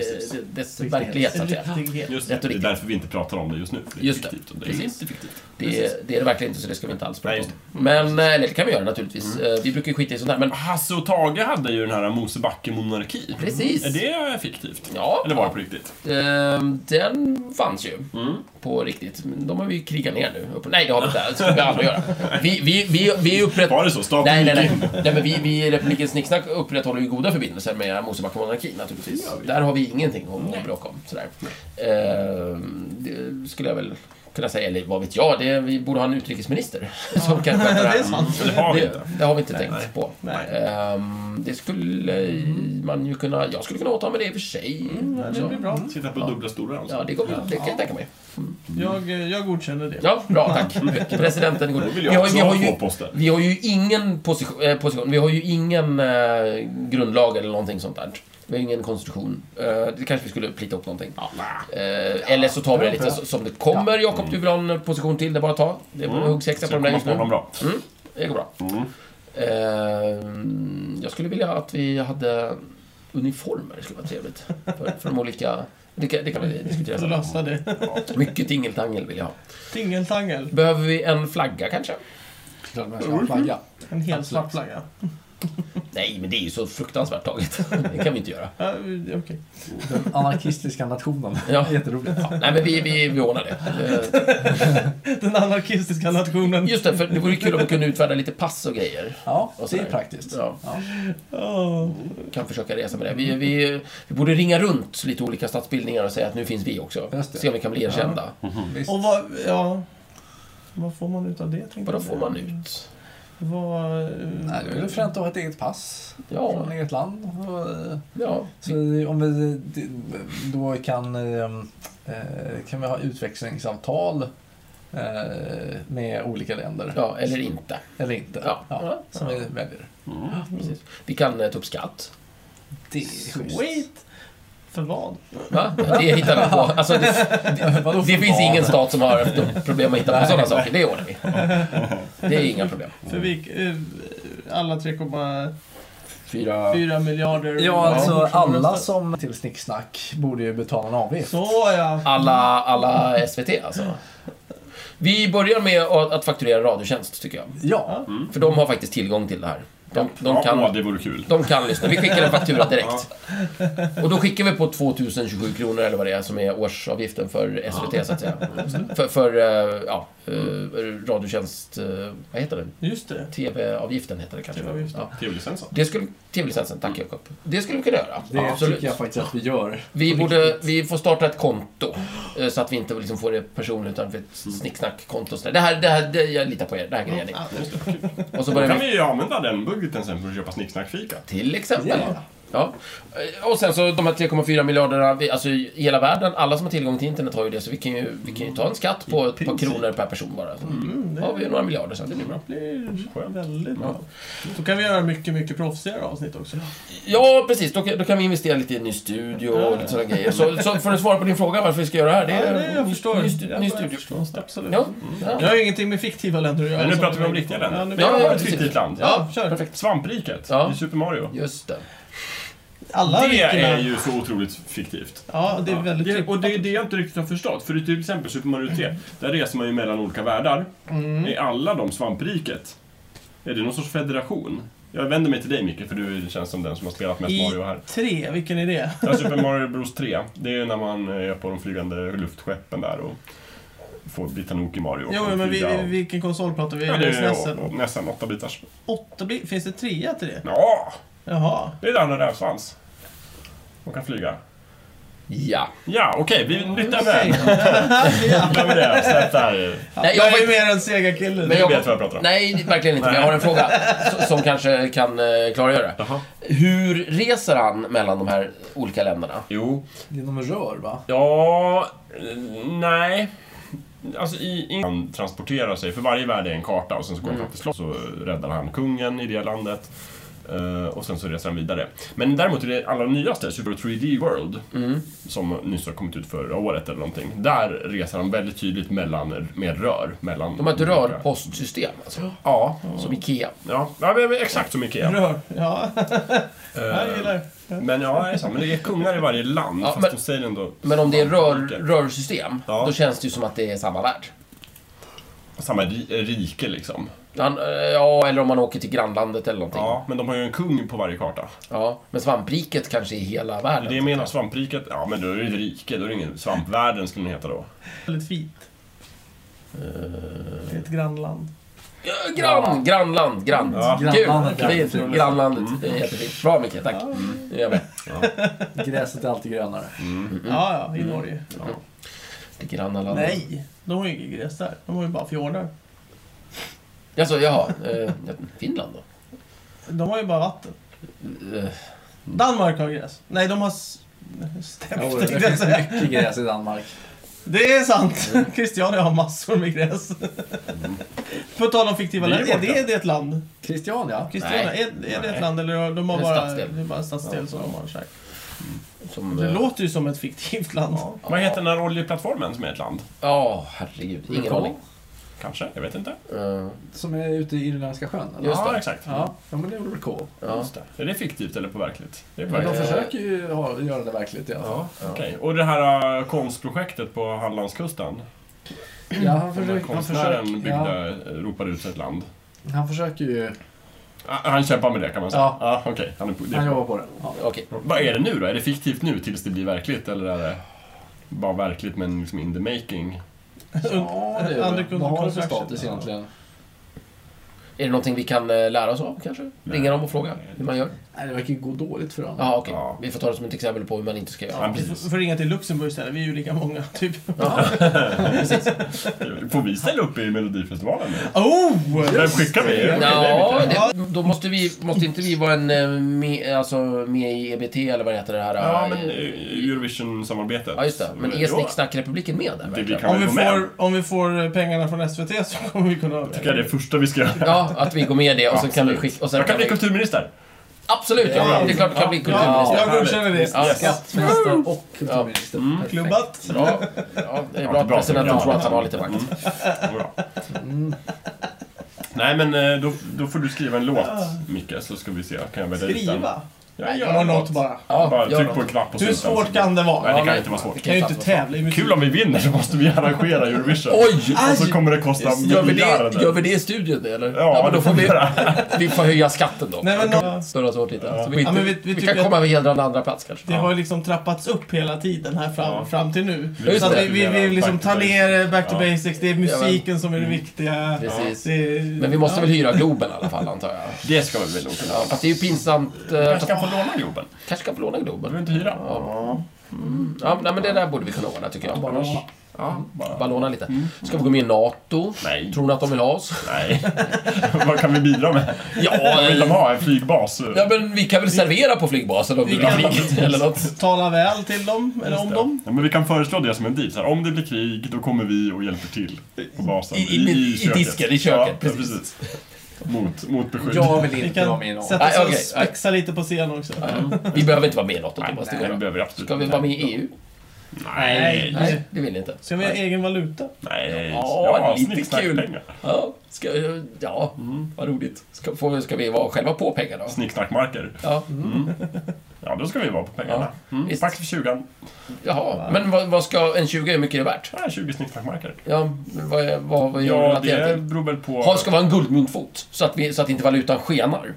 Speaker 2: dess verklighet, så att säga.
Speaker 1: Riktighet.
Speaker 4: Just
Speaker 2: Rätt och
Speaker 4: det, det är
Speaker 2: riktigt.
Speaker 4: därför vi inte pratar om det just nu. För det är
Speaker 2: Just det,
Speaker 4: fiktivt och det är
Speaker 2: precis.
Speaker 4: inte fiktivt.
Speaker 2: Det, är- det är det verkligen inte, så det ska vi inte alls prata
Speaker 4: Nej,
Speaker 2: om.
Speaker 4: just Mm.
Speaker 2: Men, eh, eller det kan vi göra naturligtvis. Eh, Vi brukar ju skita i sånt där, men
Speaker 4: Hasse och Tage hade ju den här Mosebacke-monarki.
Speaker 2: Precis.
Speaker 4: Är det fiktivt?
Speaker 2: Ja.
Speaker 4: Eller var det på riktigt?
Speaker 2: Ehm, den fanns ju
Speaker 4: Mm.
Speaker 2: på riktigt. Men De har vi ju krigat ner nu. Upp- Nej, det har vi inte. Det skulle vi aldrig göra. Vi, vi, vi, vi upprätt...
Speaker 4: Var det så? Staten
Speaker 2: Nej, nej,
Speaker 4: gick
Speaker 2: nej.
Speaker 4: in?
Speaker 2: nej men vi, vi i Republiken Snicksnack upprätthåller ju goda förbindelser med Mosebacke monarkin naturligtvis. Där har vi ingenting att att bråka om. Sådär. Ehm, det skulle jag väl kunna säga. Eller vad vet jag? Det, vi borde ha en utrikesminister som kan sköta det
Speaker 1: Det
Speaker 2: här.
Speaker 1: är sant.
Speaker 4: Det har vi
Speaker 2: Det,
Speaker 4: inte.
Speaker 2: det har vi inte tänkt på.
Speaker 1: Nej.
Speaker 2: Ehm, det skulle man ju kunna... Jag skulle kunna åta mig det i och för sig.
Speaker 4: Mm,
Speaker 1: Ja,
Speaker 2: Så.
Speaker 1: Det blir bra.
Speaker 4: Sitta på dubbla stolar alltså.
Speaker 2: Ja, det, går, väl- det kan jag tänka mig.
Speaker 1: Jag, eh, jag godkänner det.
Speaker 2: Ja, bra, tack. Presidenten går.
Speaker 4: vill
Speaker 2: Vi
Speaker 4: jag
Speaker 2: har,
Speaker 4: också
Speaker 2: vi, har
Speaker 4: ha
Speaker 2: ju,
Speaker 4: två poster.
Speaker 2: vi har ju ingen position, eh, position vi har ju ingen eh, grundlag eller någonting sånt där. Vi har ingen konstitution. Eh, det kanske vi skulle plita upp någonting. Eh, eller så tar vi det lite så- som det kommer. Jakob, du vill ha en position till, det är bara att ta. Det är bara huggsexa
Speaker 4: Ska
Speaker 2: på den där
Speaker 4: komma
Speaker 2: just
Speaker 4: på någon
Speaker 2: nu.
Speaker 4: bra.
Speaker 2: Mm, det går bra.
Speaker 4: Mm.
Speaker 2: Eh, jag skulle vilja att vi hade uniformer, det skulle vara trevligt. För, för de olika... Det kan, det kan vi diskutera sen.
Speaker 1: Lösa det.
Speaker 2: Mycket tingeltangel vill jag ha.
Speaker 1: Tingeltangel.
Speaker 2: Behöver vi en flagga kanske?
Speaker 3: Klart man ska ha en flagga.
Speaker 1: En hel svart flagga.
Speaker 2: Nej, men det är ju så fruktansvärt taget. Det kan vi inte göra.
Speaker 1: Ja, eh, Okej.
Speaker 3: Den anarkistiska nationen.
Speaker 2: Ja.
Speaker 3: Jätteroligt.
Speaker 2: Ja, nej, men vi, vi, vi ordnar det. Eh,
Speaker 1: Den anarkistiska nationen.
Speaker 2: Just det, för det vore kul om vi kunde utfärda lite pass och grejer.
Speaker 3: Ja,
Speaker 2: Och
Speaker 3: det är
Speaker 2: sådär.
Speaker 3: praktiskt.
Speaker 2: Ja,
Speaker 1: Åh.
Speaker 2: kan försöka resa med det. Vi, vi, vi borde ringa runt lite olika statsbildningar och säga att nu finns vi också.
Speaker 3: Just det.
Speaker 2: Se om vi kan bli erkända.
Speaker 4: Mm.
Speaker 3: Visst.
Speaker 1: Och vad, ja. Vad får man ut av det? tänkte
Speaker 2: Vad då
Speaker 1: jag.
Speaker 2: får man ut?
Speaker 1: Vad... eh,
Speaker 3: Nej, det är väl fränt att ha ett eget pass
Speaker 2: Ja, Mm.
Speaker 3: från eget land. Och, eh,
Speaker 2: ja.
Speaker 3: Så om vi då kan, eh, eh, kan vi ha utväxlingsavtal eh, med olika länder.
Speaker 2: ja eller inte.
Speaker 3: Eller inte.
Speaker 2: Ja.
Speaker 3: Som vi väljer.
Speaker 2: Precis. Vi kan eh, ta upp skatt.
Speaker 3: Det är
Speaker 1: Sweet! För vad?
Speaker 2: Va? Det hittar vi på. Alltså, det, det finns ingen stat som har haft problem med att hitta på sådana saker. Det ordnar vi. Det är inga problem.
Speaker 1: För vilk, eh, alla 3,4
Speaker 2: Fyra...
Speaker 4: Mm.
Speaker 1: miljarder...
Speaker 3: Ja, alltså
Speaker 1: personer
Speaker 3: alla
Speaker 1: röstar.
Speaker 3: som till Snicksnack borde ju betala en avgift.
Speaker 1: Så ja.
Speaker 2: Alla, alla SVT alltså. Vi börjar med att att fakturera Radiotjänst, tycker jag.
Speaker 3: Ja,
Speaker 2: För de har faktiskt tillgång till det här. De, de,
Speaker 4: Ja,
Speaker 2: kan,
Speaker 4: det vore kul.
Speaker 2: de kan lyssna. Vi skickar en faktura direkt. Och då skickar vi på 2027 kronor eller vad det är som är årsavgiften för SVT så att säga. För, för eh, ja, eh, Radiotjänst, eh, vad heter den?
Speaker 1: Just det.
Speaker 2: TV-avgiften heter det kanske.
Speaker 1: TV-avgiften.
Speaker 2: Ja.
Speaker 4: Tv-licensen.
Speaker 2: Det skulle, TV-licensen, tack Jakob. Det skulle vi kunna göra.
Speaker 3: det tycker jag faktiskt att vi gör.
Speaker 2: Vi,
Speaker 3: På
Speaker 2: borde,
Speaker 3: riktigt.
Speaker 2: vi får starta ett konto. eh, Så att vi inte liksom får det personligt utan för ett snicksnack-konto. och sådär. Det här, det här, det, jag litar på er. Det här grejer
Speaker 1: Mm. Ja,
Speaker 2: ni. Och så
Speaker 4: Då
Speaker 2: börjar
Speaker 4: kan
Speaker 2: vi.
Speaker 4: vi ju använda den budgeten sen för att köpa snicksnackfika.
Speaker 2: Till exempel.
Speaker 3: Ja.
Speaker 2: Ja. Eh, Och sen så de här 3,4 miljarderna, vi, alltså i hela världen, alla som har tillgång till internet har ju det, så vi kan ju, vi kan ju ta en skatt på ett par
Speaker 4: princip.
Speaker 2: kronor per person bara. Så
Speaker 1: Mm.
Speaker 2: har vi ju några miljarder sen, det blir bra.
Speaker 1: Det blir
Speaker 4: Skönt.
Speaker 1: väldigt bra. Då kan vi göra mycket, mycket proffsigare avsnitt också.
Speaker 2: Ja, precis. Då, kan- då kan vi investera lite i en ny studio och lite sådana grejer. Så, så för att svara på din fråga varför vi ska göra det här, det
Speaker 1: Ja,
Speaker 2: är
Speaker 1: det, jag
Speaker 2: ny,
Speaker 1: förstår.
Speaker 2: ny, stu-
Speaker 1: Jag
Speaker 2: ny
Speaker 1: bara
Speaker 2: studio.
Speaker 1: förstår. Absolut.
Speaker 2: Ja,
Speaker 1: Jag
Speaker 2: ja.
Speaker 1: har ingenting med fiktiva länder att göra.
Speaker 4: Men nu
Speaker 1: Så
Speaker 4: pratar vi om
Speaker 1: jag-
Speaker 4: riktiga
Speaker 1: Ja,
Speaker 4: länder.
Speaker 1: nu-
Speaker 4: Vi
Speaker 2: ja,
Speaker 4: har ett
Speaker 2: precis.
Speaker 4: riktigt land.
Speaker 1: Ja, kör.
Speaker 2: Perfekt.
Speaker 4: Svampriket
Speaker 2: Ja.
Speaker 4: i Super Mario.
Speaker 2: Just det.
Speaker 1: Alla
Speaker 4: Det
Speaker 1: rikena.
Speaker 4: är ju så otroligt fiktivt.
Speaker 1: Ja, det är väldigt... typ-
Speaker 4: det, och det är det jag inte riktigt har förstått. För i till exempel Super Mario 3, där reser man ju mellan olika världar.
Speaker 1: Mm.
Speaker 4: Är alla de svampriket? Är det någon sorts federation? Jag vänder mig till dig Micke, för du känns som den som har spelat mest
Speaker 1: I
Speaker 4: Mario här.
Speaker 1: tre, vilken är det?
Speaker 4: Ja, Super Mario Bros 3, det är ju när man är på de flygande luftskeppen där och får bita nog i Mario. och
Speaker 1: Jo,
Speaker 4: kan
Speaker 1: men vi,
Speaker 4: flyga och-
Speaker 1: vi- vilken konsol pratar vi?
Speaker 4: Ja,
Speaker 1: Är
Speaker 4: det
Speaker 1: det
Speaker 4: är
Speaker 1: SNESen?
Speaker 4: ju- nästan åtta bitars.
Speaker 1: Åtta bit? Finns det trea till det?
Speaker 4: Ja,
Speaker 1: Jaha.
Speaker 4: det är där med rävsvans. Och kan flyga.
Speaker 2: Ja.
Speaker 4: Ja, okej, vi nyttjar
Speaker 1: Okej.
Speaker 4: den. Nyttjar vi det. Släpp det här.
Speaker 1: Jag
Speaker 2: Nej, jag,
Speaker 1: är ju
Speaker 2: jag,
Speaker 1: mer en segarkille.
Speaker 2: Men
Speaker 4: Du
Speaker 2: jag-
Speaker 4: vet vad jag pratar om.
Speaker 2: nej, verkligen inte. Men jag har en fråga s- som kanske kan eh, klargöra det.
Speaker 4: Jaha.
Speaker 2: Hur reser han mellan de här olika länderna?
Speaker 4: Jo.
Speaker 3: Genom rör, va?
Speaker 4: Ja, eh, nej. Alltså i England han transporterar sig, för varje värld är en karta och sen så går
Speaker 2: Mm.
Speaker 4: han till slott så räddar han kungen i det landet. eh, och sen så reser han vidare. Men däremot i det allra nyaste, Super 3D World,
Speaker 2: Mm.
Speaker 4: som nyss har kommit ut förra året eller någonting. Där reser han väldigt tydligt mellan, med rör. Mellan
Speaker 2: De har ett rörpostsystem, alltså.
Speaker 4: Mm. Ja,
Speaker 2: Som IKEA.
Speaker 4: ja, ja men exakt som Ikea.
Speaker 1: Rör. Ja,
Speaker 4: Eh,
Speaker 1: jag gillar
Speaker 4: men ja, det är sant. Men det är kungar i varje land,
Speaker 2: Ja,
Speaker 4: fast
Speaker 2: men-
Speaker 4: de säger ändå...
Speaker 2: Men om det är rör,
Speaker 4: Rike.
Speaker 2: rörsystem,
Speaker 4: Ja.
Speaker 2: då känns det ju som att det är samma värld.
Speaker 4: Samma ri- rike liksom.
Speaker 2: Han, eh, ja, eller om man åker till grannlandet eller någonting. Ja.
Speaker 4: Ja, men de har ju en kung på varje karta.
Speaker 2: Men svampriket kanske är hela
Speaker 4: Det
Speaker 2: världen.
Speaker 4: är det jag menar, svampriket. Ja, men då är det ett rike. Då är det ingen... Svampvärlden skulle den heta då.
Speaker 1: Väldigt fint.
Speaker 4: Eh.
Speaker 1: Det är ett grannland.
Speaker 2: Ja, Eh, Grann, grannland, grann.
Speaker 4: Ja.
Speaker 3: Grannlandet,
Speaker 2: Kul!
Speaker 3: ja.
Speaker 2: Fint. Grannlandet, det är jättefint. Bra Micke, tack. Mm. Det gör vi.
Speaker 3: Gräset är alltid grönare.
Speaker 1: Ja, ja, i Norge.
Speaker 2: Det granna landet.
Speaker 1: Nej, de har ju inget gräs där. De har ju bara fjordar.
Speaker 2: Alltså, jaha. Eh, Finland då?
Speaker 1: De har ju bara vatten.
Speaker 2: Eh,
Speaker 1: Danmark har gräs. Nej, de har... s-
Speaker 3: Jo,
Speaker 1: Stämt,
Speaker 3: det
Speaker 1: tänkte jag
Speaker 3: finns
Speaker 1: säga.
Speaker 3: mycket gräs i Danmark.
Speaker 1: Det är sant. Christiania har massor med gräs. På tal om fiktiva
Speaker 4: Det är
Speaker 1: länder,
Speaker 4: ju
Speaker 1: är
Speaker 4: borta.
Speaker 1: det, är det ett land?
Speaker 3: Christiania?
Speaker 1: Christiania,
Speaker 2: Nej.
Speaker 1: är, är det
Speaker 4: Nej.
Speaker 1: ett land eller har de har
Speaker 2: Det är
Speaker 1: bara,
Speaker 2: en stadsdel.
Speaker 1: det är bara en stadsdel som de har så här.
Speaker 2: Som,
Speaker 1: Det
Speaker 2: eh,
Speaker 1: låter ju som ett fiktivt land. Ja,
Speaker 4: Vad heter den här oljeplattformen som är ett land?
Speaker 2: Ja, herregud. Ingen
Speaker 3: Vulkan.
Speaker 2: aning.
Speaker 4: Kanske? Jag vet inte.
Speaker 2: Eh,
Speaker 3: Som är ute i Irländska sjön, eller?
Speaker 2: Just
Speaker 4: ja,
Speaker 2: det.
Speaker 4: exakt.
Speaker 3: Ja, ja, men det vore cool.
Speaker 2: ja.
Speaker 4: Just det. Är det fiktivt eller på verkligt? Det är på
Speaker 3: Men de
Speaker 4: verkligt.
Speaker 2: Eh.
Speaker 3: försöker ju ha, göra det verkligt i alla fall.
Speaker 4: Ja, okej. Och det här äh, konstprojektet på Hallandskusten?
Speaker 3: Ja, han,
Speaker 4: Den där
Speaker 3: försöker, han,
Speaker 4: konstnären
Speaker 3: försöker, ja,
Speaker 4: byggde, eh, ropade ut ett land.
Speaker 3: han försöker ju...
Speaker 4: Ah, han kämpar med det kan man säga.
Speaker 3: Ja.
Speaker 4: Ah, okej. Han är på det.
Speaker 3: Han jobbar på det. Ja.
Speaker 2: Okej.
Speaker 4: Vad är det nu då? Är det fiktivt nu tills det blir verkligt eller är det bara verkligt men liksom in the making?
Speaker 3: Ja, det är
Speaker 1: Under
Speaker 3: det. Vad har det för
Speaker 1: construction.
Speaker 3: status egentligen?
Speaker 2: Är det någonting vi kan eh, lära oss av kanske? Ringa dem och fråga hur man gör?
Speaker 3: Nej, det verkar ju gå dåligt för honom.
Speaker 2: Jaha, okej.
Speaker 4: Ja.
Speaker 2: Vi får ta det som ett exempel på hur man inte ska göra.
Speaker 4: Ja,
Speaker 1: Vi får-
Speaker 4: precis.
Speaker 1: får ringa till Luxemburg istället, vi är ju lika många. Typ.
Speaker 4: Får vi ställa upp i Melodifestivalen nu?
Speaker 1: Oh!
Speaker 4: Vem skickar vi?
Speaker 2: Ja, det, då måste, vi, måste inte vi vara en, eh, med, alltså, med i EBT eller vad heter det här?
Speaker 4: Ja,
Speaker 2: eh,
Speaker 4: men eh, Eurovision-samarbetet.
Speaker 2: ja just det. Men E är
Speaker 4: Ja,
Speaker 2: Snicksnackrepubliken med där
Speaker 4: Det blir
Speaker 2: verkligen?
Speaker 4: kan
Speaker 1: Om
Speaker 4: vi
Speaker 1: vi,
Speaker 4: gå med.
Speaker 1: får, om vi får eh, pengarna från SVT så kommer vi kunna...
Speaker 4: Det är det första vi ska göra.
Speaker 2: Ja, att vi går med i det och sen kan vi
Speaker 4: Absolut.
Speaker 2: skicka... Och sen
Speaker 4: Jag kan bli
Speaker 2: vi-
Speaker 4: kulturminister.
Speaker 2: Absolut! Ja, det är klart du kan bli kulturminister.
Speaker 1: jag godkänner det.
Speaker 2: Ja,
Speaker 3: Skattmästare och kulturminister. Perfekt.
Speaker 1: Klubbat.
Speaker 2: Bra. Ja, det är bra
Speaker 4: Ja,
Speaker 2: att
Speaker 4: bra.
Speaker 2: presidenten
Speaker 4: Ja.
Speaker 2: tror att han har lite makt.
Speaker 4: Bra. Nej, men eh, då, då får du skriva en låt, Micke, så ska vi se. Kan jag välja ut den?
Speaker 1: Skriva.
Speaker 4: Ja, gör
Speaker 1: Gör
Speaker 4: en
Speaker 1: något
Speaker 4: låt.
Speaker 1: bara.
Speaker 2: Ja,
Speaker 4: Bara
Speaker 2: gör
Speaker 4: tryck
Speaker 2: något.
Speaker 4: på en knapp och
Speaker 1: Hur
Speaker 4: så-
Speaker 1: svårt kan det
Speaker 4: Nej,
Speaker 1: vara?
Speaker 4: det kan inte vara svårt.
Speaker 1: Kan ju inte tävla i musik.
Speaker 4: Kul om vi vinner så måste vi arrangera Eurovision.
Speaker 2: Oj!
Speaker 4: Och så kommer det kosta
Speaker 2: Gör vi, det,
Speaker 4: miljarder.
Speaker 2: gör vi det i studion nu, eller?
Speaker 4: Ja,
Speaker 2: men
Speaker 4: det
Speaker 2: då får
Speaker 4: får
Speaker 2: vi,
Speaker 4: vi
Speaker 2: vi får höja skatten då.
Speaker 1: Nej, men, eh, ja,
Speaker 2: Snurra så hårt lite. Så vi,
Speaker 1: Ja,
Speaker 2: inte,
Speaker 1: men
Speaker 2: vi,
Speaker 1: vi- vi
Speaker 2: kan
Speaker 1: tycker
Speaker 2: komma och hedra en andra plats kanske.
Speaker 1: det har ju liksom trappats upp hela tiden här fram,
Speaker 4: Ja.
Speaker 1: fram till nu.
Speaker 4: Just
Speaker 1: Så att
Speaker 2: det.
Speaker 1: vi, vi vill liksom
Speaker 4: Back to
Speaker 1: ta ner
Speaker 4: basics.
Speaker 1: back to
Speaker 4: Ja. Mm.
Speaker 1: basics. Det är musiken som är det viktiga.
Speaker 2: Precis.
Speaker 1: Det,
Speaker 2: Men vi måste väl hyra Globen i alla fall, antar jag.
Speaker 4: Det ska vi väl nog kunna.
Speaker 2: Ja, fast det är ju pinsamt. Eh,
Speaker 4: kanske
Speaker 2: fast,
Speaker 4: kan få låna Globen.
Speaker 2: kanske kan få låna Globen.
Speaker 4: Behöver inte hyra.
Speaker 2: Ja. Mm. Ja, nej, men det där borde vi kunna ordna, tycker jag.
Speaker 3: Bara låna.
Speaker 2: Ja,
Speaker 4: bara- Mm.
Speaker 2: bara låna lite. Ska vi gå med i NATO?
Speaker 4: Nej.
Speaker 2: Tror ni att de vill ha oss?
Speaker 4: Nej. Vad kan vi bidra med?
Speaker 2: Ja,
Speaker 4: Vad vill de ha? En flygbas?
Speaker 2: Ja, men vi kan väl servera på flygbasen om det
Speaker 1: Vi
Speaker 2: blir
Speaker 1: kan-
Speaker 2: krig eller något.
Speaker 1: Tala väl till dem, eller om dem.
Speaker 4: Ja, men vi kan föreslå det som en deal. Så här, om det blir krig, då kommer vi och hjälper till på basen.
Speaker 2: I- i- i
Speaker 4: köket.
Speaker 2: disken, i köket,
Speaker 4: Ja, precis. precis. Mot, mot beskydd.
Speaker 3: Jag vill
Speaker 1: Vi
Speaker 3: inte vara
Speaker 1: kan
Speaker 3: med i någon.
Speaker 1: sätta oss
Speaker 2: Nej,
Speaker 1: och
Speaker 2: okej, nej.
Speaker 1: spexa lite på scen också.
Speaker 2: Vi behöver inte vara med i något.
Speaker 4: Nej,
Speaker 2: Thomas, det
Speaker 4: nej, det
Speaker 2: går bra.
Speaker 4: behöver vi absolut
Speaker 2: Ska vi
Speaker 4: inte.
Speaker 2: vara med i E EU?
Speaker 4: Nej.
Speaker 1: Nej.
Speaker 2: Det vill ni inte.
Speaker 1: Ska vi ha egen valuta?
Speaker 4: Nej.
Speaker 2: Ja, lite
Speaker 4: snicksnack,
Speaker 2: kul.
Speaker 4: pengar.
Speaker 2: Ja, ska, ja vad roligt. Ska, får, ska vi vara själva på pengar då?
Speaker 4: Snicksnackmarker.
Speaker 2: Ja,
Speaker 4: Ja, då ska vi vara på pengarna.
Speaker 2: ja.
Speaker 4: Mm.
Speaker 2: Visst.
Speaker 4: Tack för 20
Speaker 2: Jaha, men vad, vad ska en 20 hur mycket är det värt?
Speaker 4: Nej, 20 snicksnackmarker.
Speaker 2: Ja, men vad, är- vad, vad gör
Speaker 4: Ja,
Speaker 2: det
Speaker 4: det
Speaker 2: till?
Speaker 4: beror väl på...
Speaker 2: Ha, ska vara en guldmyntfot, så att, vi, så att inte valutan skenar.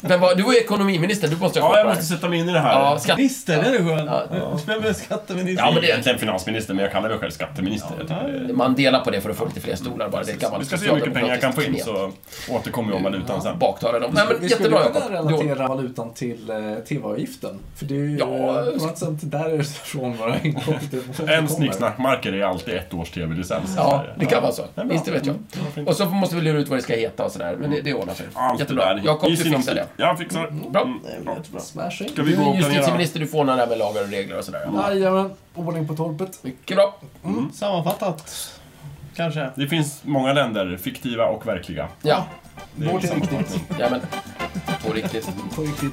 Speaker 2: Men vad, du är ekonomiminister, du måste ha koll
Speaker 4: Ja,
Speaker 2: på
Speaker 4: jag
Speaker 2: det här.
Speaker 4: måste sätta mig in i det här.
Speaker 2: Ja, skatt...
Speaker 1: Minister, det är det skönt.
Speaker 2: Ja.
Speaker 1: Vem är skatteminister?
Speaker 4: Ja, men det är
Speaker 2: det-
Speaker 4: egentligen finansminister, men jag kallar mig själv skatteminister. Jag tycker det är-
Speaker 2: Man delar på det för att få lite fler stolar bara. Det är ett gammalt
Speaker 4: Vi ska se hur mycket pengar jag kan få in,
Speaker 2: socialdemokratiskt
Speaker 4: så återkommer jag om valutan sen.
Speaker 2: baktala dem. Nej, men
Speaker 3: Vi skulle
Speaker 2: jättebra
Speaker 3: kunna
Speaker 2: Jakob. Du-
Speaker 3: relatera valutan till eh, TV-avgiften. För det är ju
Speaker 2: Ja,
Speaker 3: eh,
Speaker 2: jag
Speaker 3: på något sätt därifrån våra inkomster
Speaker 4: En snicksnackmarker är alltid ett års tv-licens. i
Speaker 2: Ja,
Speaker 4: Sverige.
Speaker 2: det kan vara så.
Speaker 4: men bra.
Speaker 2: Visst, det vet jag. Och så måste vi lura ut vad det ska heta och sådär. Men det, det ordnar sig.
Speaker 4: Allt
Speaker 2: Jättebra.
Speaker 4: det där.
Speaker 2: Jakob,
Speaker 4: I
Speaker 2: du
Speaker 4: sin-
Speaker 2: fixar det.
Speaker 4: Jag fixar det.
Speaker 2: Bra.
Speaker 4: Mm, bra.
Speaker 3: Smashing.
Speaker 4: Ska vi
Speaker 2: Du
Speaker 4: gå
Speaker 2: är
Speaker 4: och planera?
Speaker 2: justitieminister, du får ordna det här med lagar och regler och sådär.
Speaker 3: Jajamän, ordning på torpet.
Speaker 2: Mycket bra.
Speaker 1: Sammanfattat, kanske.
Speaker 4: Det finns många länder, fiktiva och verkliga.
Speaker 2: Ja,
Speaker 4: Det är
Speaker 3: Vårt är
Speaker 4: samma
Speaker 3: riktigt.
Speaker 4: sak.
Speaker 2: ja men På riktigt.
Speaker 3: På riktigt.